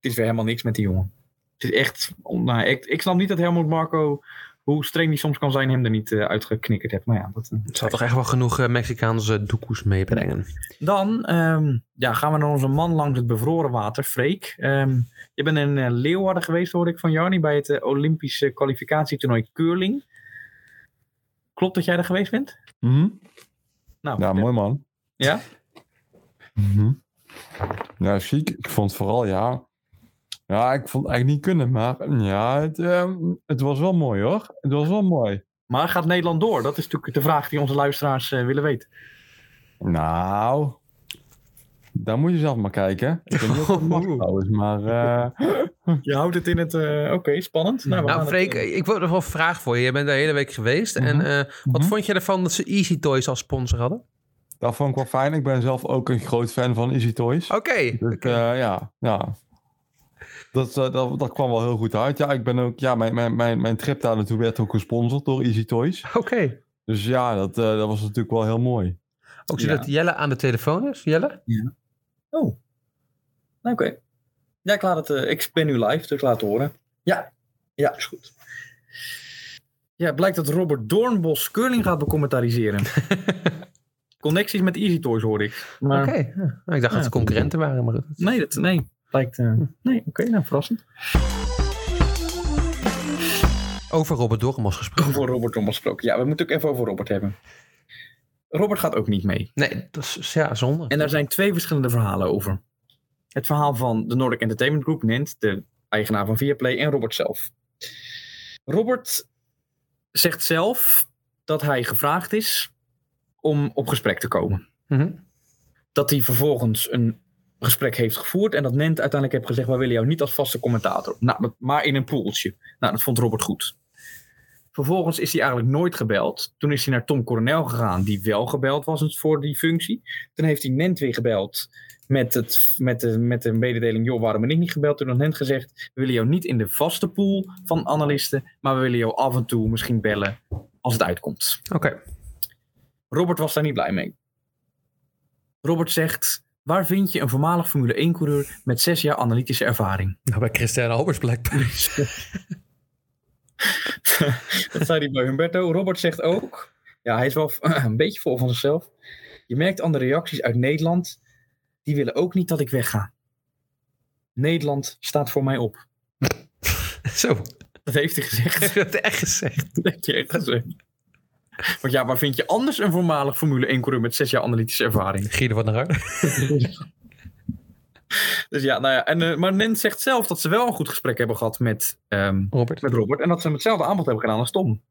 [SPEAKER 1] Het is weer helemaal niks met die jongen. Het is echt. on- Nou, ik, ik snap niet dat Helmut Marco, hoe streng die soms kan zijn, hem er niet eh, uitgeknikkerd heeft. Maar ja, dat, eh,
[SPEAKER 2] Het zal toch echt wel genoeg eh, Mexicaanse doekoes meebrengen.
[SPEAKER 1] Dan ehm, ja, gaan we naar onze man langs het bevroren water, Freek. Ehm, je bent in eh, Leeuwarden geweest, hoorde ik van Jarni, bij het eh, Olympische kwalificatietoernooi Curling. Klopt dat jij er geweest bent?
[SPEAKER 6] Mhm.
[SPEAKER 1] Nou,
[SPEAKER 6] ja, mooi man.
[SPEAKER 1] Ja?
[SPEAKER 6] Mhm. Ja, chic. Ik vond vooral, ja... Ja, ik vond het eigenlijk niet kunnen, maar ja, het, eh, het was wel mooi hoor. Het was wel mooi.
[SPEAKER 1] Maar gaat Nederland door? Dat is natuurlijk de vraag die onze luisteraars eh, willen weten.
[SPEAKER 6] Nou, daar moet je zelf maar kijken. Ik weet niet of het mag trouwens, maar... eh,
[SPEAKER 1] Je houdt het in het... eh, Oké, spannend. Nou, we
[SPEAKER 2] Nou,
[SPEAKER 1] gaan
[SPEAKER 2] Freek,
[SPEAKER 1] het, eh,
[SPEAKER 2] ik wil nog wel een vraag voor je. Je bent de hele week geweest. En
[SPEAKER 1] Mhm.
[SPEAKER 2] eh, wat vond je ervan dat ze Easy Toys als sponsor hadden?
[SPEAKER 6] Dat vond ik wel fijn. Ik ben zelf ook een groot fan van Easy Toys.
[SPEAKER 2] Oh,
[SPEAKER 6] Dus, eh,
[SPEAKER 2] Oké.
[SPEAKER 6] ja, ja. Dat, eh, dat, dat kwam wel heel goed uit. Ja, ik ben ook, ja mijn, mijn, mijn, mijn trip daar naartoe werd ook gesponsord door Easy Toys.
[SPEAKER 2] Oké.
[SPEAKER 6] Dus ja, dat, eh, dat was natuurlijk wel heel mooi.
[SPEAKER 2] Ook zo dat Jelle aan de telefoon is. Jelle?
[SPEAKER 1] Ja. Oh. Oké. Ja, ik, laat het, eh, ik ben nu live, dus ik laat het horen. Ja, ja, is goed. Ja, het blijkt dat Robert Doornbos curling gaat becommentariseren. Connecties met Easy Toys hoor ik. Maar-
[SPEAKER 2] Oké, ja. Nou, Ik dacht dat
[SPEAKER 1] Ja.
[SPEAKER 2] het concurrenten waren, maar... dat-
[SPEAKER 1] Nee, dat, nee. Blijkt, eh, nee, oké, nou verrassend.
[SPEAKER 2] Over Robert Dormos gesproken.
[SPEAKER 1] Over Robert Dormos gesproken. Ja, we moeten ook even over Robert hebben. Robert gaat ook niet mee.
[SPEAKER 2] Nee, dat is ja, zonde.
[SPEAKER 1] En daar zijn twee verschillende verhalen over. Het verhaal van de Nordic Entertainment Group, Nint, de eigenaar van Viaplay, en Robert zelf. Robert zegt zelf dat hij gevraagd is om op gesprek te komen. Dat hij vervolgens een gesprek heeft gevoerd en dat Nent uiteindelijk heeft gezegd: wij willen jou niet als vaste commentator, nou, maar- maar in een poeltje. Nou, dat vond Robert goed. Vervolgens is hij eigenlijk nooit gebeld. Toen is hij naar Tom Coronel gegaan, die wel gebeld was voor die functie. Toen heeft hij Nent weer gebeld met, het, met, de, met de mededeling: joh, waarom ben ik niet gebeld? Toen had Nent gezegd: we willen jou niet in de vaste pool van analisten, maar we willen jou af en toe misschien bellen als het uitkomt.
[SPEAKER 2] Oké.
[SPEAKER 1] Robert was daar niet blij mee. Robert zegt: waar vind je een voormalig Formule 1-coureur met zes jaar analytische ervaring?
[SPEAKER 2] Nou, bij Christiane Albers blijkbaar.
[SPEAKER 1] Dat zei hij bij Humberto. Robert zegt ook. Ja, hij is wel een beetje vol van zichzelf. Je merkt aan de reacties uit Nederland. Die willen ook niet dat ik wegga. Nederland staat voor mij op.
[SPEAKER 2] Zo.
[SPEAKER 1] Dat heeft hij gezegd. Dat
[SPEAKER 2] heeft hij echt gezegd.
[SPEAKER 1] Dat heeft hij echt gezegd. Want ja, waar vind je anders een voormalig Formule 1-coureur met zes jaar analytische ervaring?
[SPEAKER 2] Guido van der
[SPEAKER 1] Dus ja, nou ja. En, eh, maar Nent zegt zelf dat ze wel een goed gesprek hebben gehad met, ehm,
[SPEAKER 2] met
[SPEAKER 1] Robert. En dat ze hem hetzelfde aanbod hebben gedaan als Tom.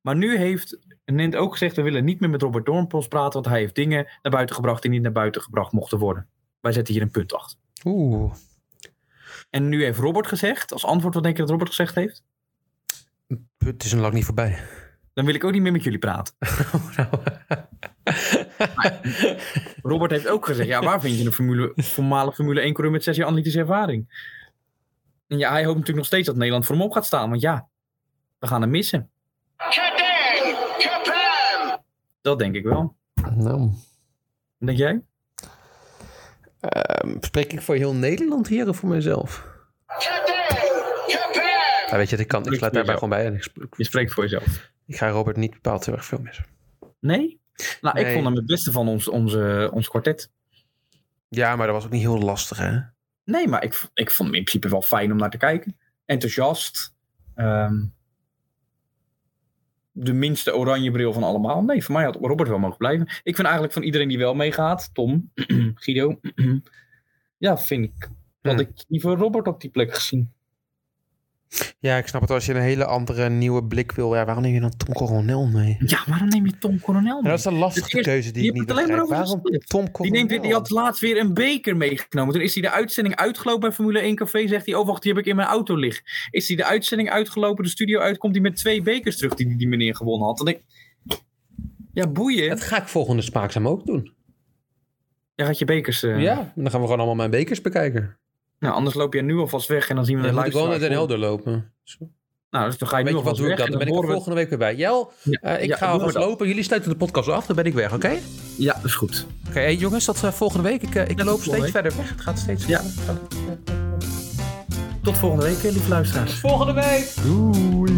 [SPEAKER 1] Maar nu heeft Nent ook gezegd: we willen niet meer met Robert Doornpos praten. Want hij heeft dingen naar buiten gebracht die niet naar buiten gebracht mochten worden. Wij zetten hier een punt achter.
[SPEAKER 2] Oeh.
[SPEAKER 1] En nu heeft Robert gezegd, als antwoord, wat denk je dat Robert gezegd heeft?
[SPEAKER 2] Het is nog lang niet voorbij.
[SPEAKER 1] Dan wil ik ook niet meer met jullie praten. Maar Robert heeft ook gezegd: ja, waar vind je een formule, voormalig Formule 1 coureur met 6 jaar analytische ervaring? En ja, hij hoopt natuurlijk nog steeds dat Nederland voor hem op gaat staan. Want ja, we gaan hem missen. Dat denk ik wel.
[SPEAKER 2] Nou.
[SPEAKER 1] Denk jij?
[SPEAKER 2] Ehm, spreek ik voor heel Nederland hier of voor mezelf? Ja, weet je, ik kan. Ik laat daarbij gewoon bij. En ik
[SPEAKER 1] je spreekt voor jezelf.
[SPEAKER 2] Ik ga Robert niet bepaald heel erg veel missen.
[SPEAKER 1] Nee? Nou, ik
[SPEAKER 2] Nee.
[SPEAKER 1] vond hem het beste van ons, onze, ons kwartet.
[SPEAKER 2] Ja, maar dat was ook niet heel lastig, hè?
[SPEAKER 1] Nee, maar ik, v- ik vond hem in principe wel fijn om naar te kijken. Enthousiast. Ehm, de minste oranje bril van allemaal. Nee, voor mij had Robert wel mogen blijven. Ik vind eigenlijk van iedereen die wel meegaat, Tom, Guido, ja, vind ik
[SPEAKER 2] Hm.
[SPEAKER 1] dat ik liever Robert op die plek gezien.
[SPEAKER 2] Ja, ik snap het. Als je een hele andere nieuwe blik wil, ja, waarom neem je dan Tom Coronel mee?
[SPEAKER 1] Ja, waarom neem je Tom Coronel
[SPEAKER 2] mee? Dat is een lastige keuze die ik niet
[SPEAKER 1] alleen maar
[SPEAKER 2] begrijp.
[SPEAKER 1] over
[SPEAKER 2] Waarom?
[SPEAKER 1] gespeeld. die, neemt, weer- die had laatst weer een beker meegenomen. Toen is hij de uitzending uitgelopen bij Formule 1 Café. Zegt hij, oh wacht, die heb ik in mijn auto liggen. Is hij de uitzending uitgelopen, de studio uit, komt hij met twee bekers terug die die meneer gewonnen had. Dan denk ik, ja boeien.
[SPEAKER 2] Dat ga ik volgende spaakzaam ook doen.
[SPEAKER 1] Ja, gaat je bekers... eh,
[SPEAKER 2] Ja, dan gaan we gewoon allemaal mijn bekers bekijken.
[SPEAKER 1] Nou, anders loop jij nu alvast weg en dan zien we
[SPEAKER 2] Dan
[SPEAKER 1] de
[SPEAKER 2] moet ik
[SPEAKER 1] live.
[SPEAKER 2] gewoon naar Den Helder lopen.
[SPEAKER 1] Nou, dus dan ga je
[SPEAKER 2] Weet
[SPEAKER 1] nu
[SPEAKER 2] je wat
[SPEAKER 1] alvast
[SPEAKER 2] doe
[SPEAKER 1] weg.
[SPEAKER 2] ik dan?
[SPEAKER 1] en
[SPEAKER 2] Dan ben ik
[SPEAKER 1] horen
[SPEAKER 2] er
[SPEAKER 1] we-
[SPEAKER 2] volgende week weer bij. Jel, eh, ik
[SPEAKER 1] ja,
[SPEAKER 2] ga
[SPEAKER 1] doen we
[SPEAKER 2] alvast
[SPEAKER 1] dat.
[SPEAKER 2] lopen. Jullie sluiten de podcast af. Dan ben ik weg, oké?
[SPEAKER 1] Ja, dat is goed.
[SPEAKER 2] Oké, hey, jongens, dat eh, volgende week. Ik, eh, ik loop steeds verder weg. Het gaat steeds
[SPEAKER 1] Ja. Tot volgende week, hè, lieve luisteraars.
[SPEAKER 2] Volgende week!
[SPEAKER 1] Doei!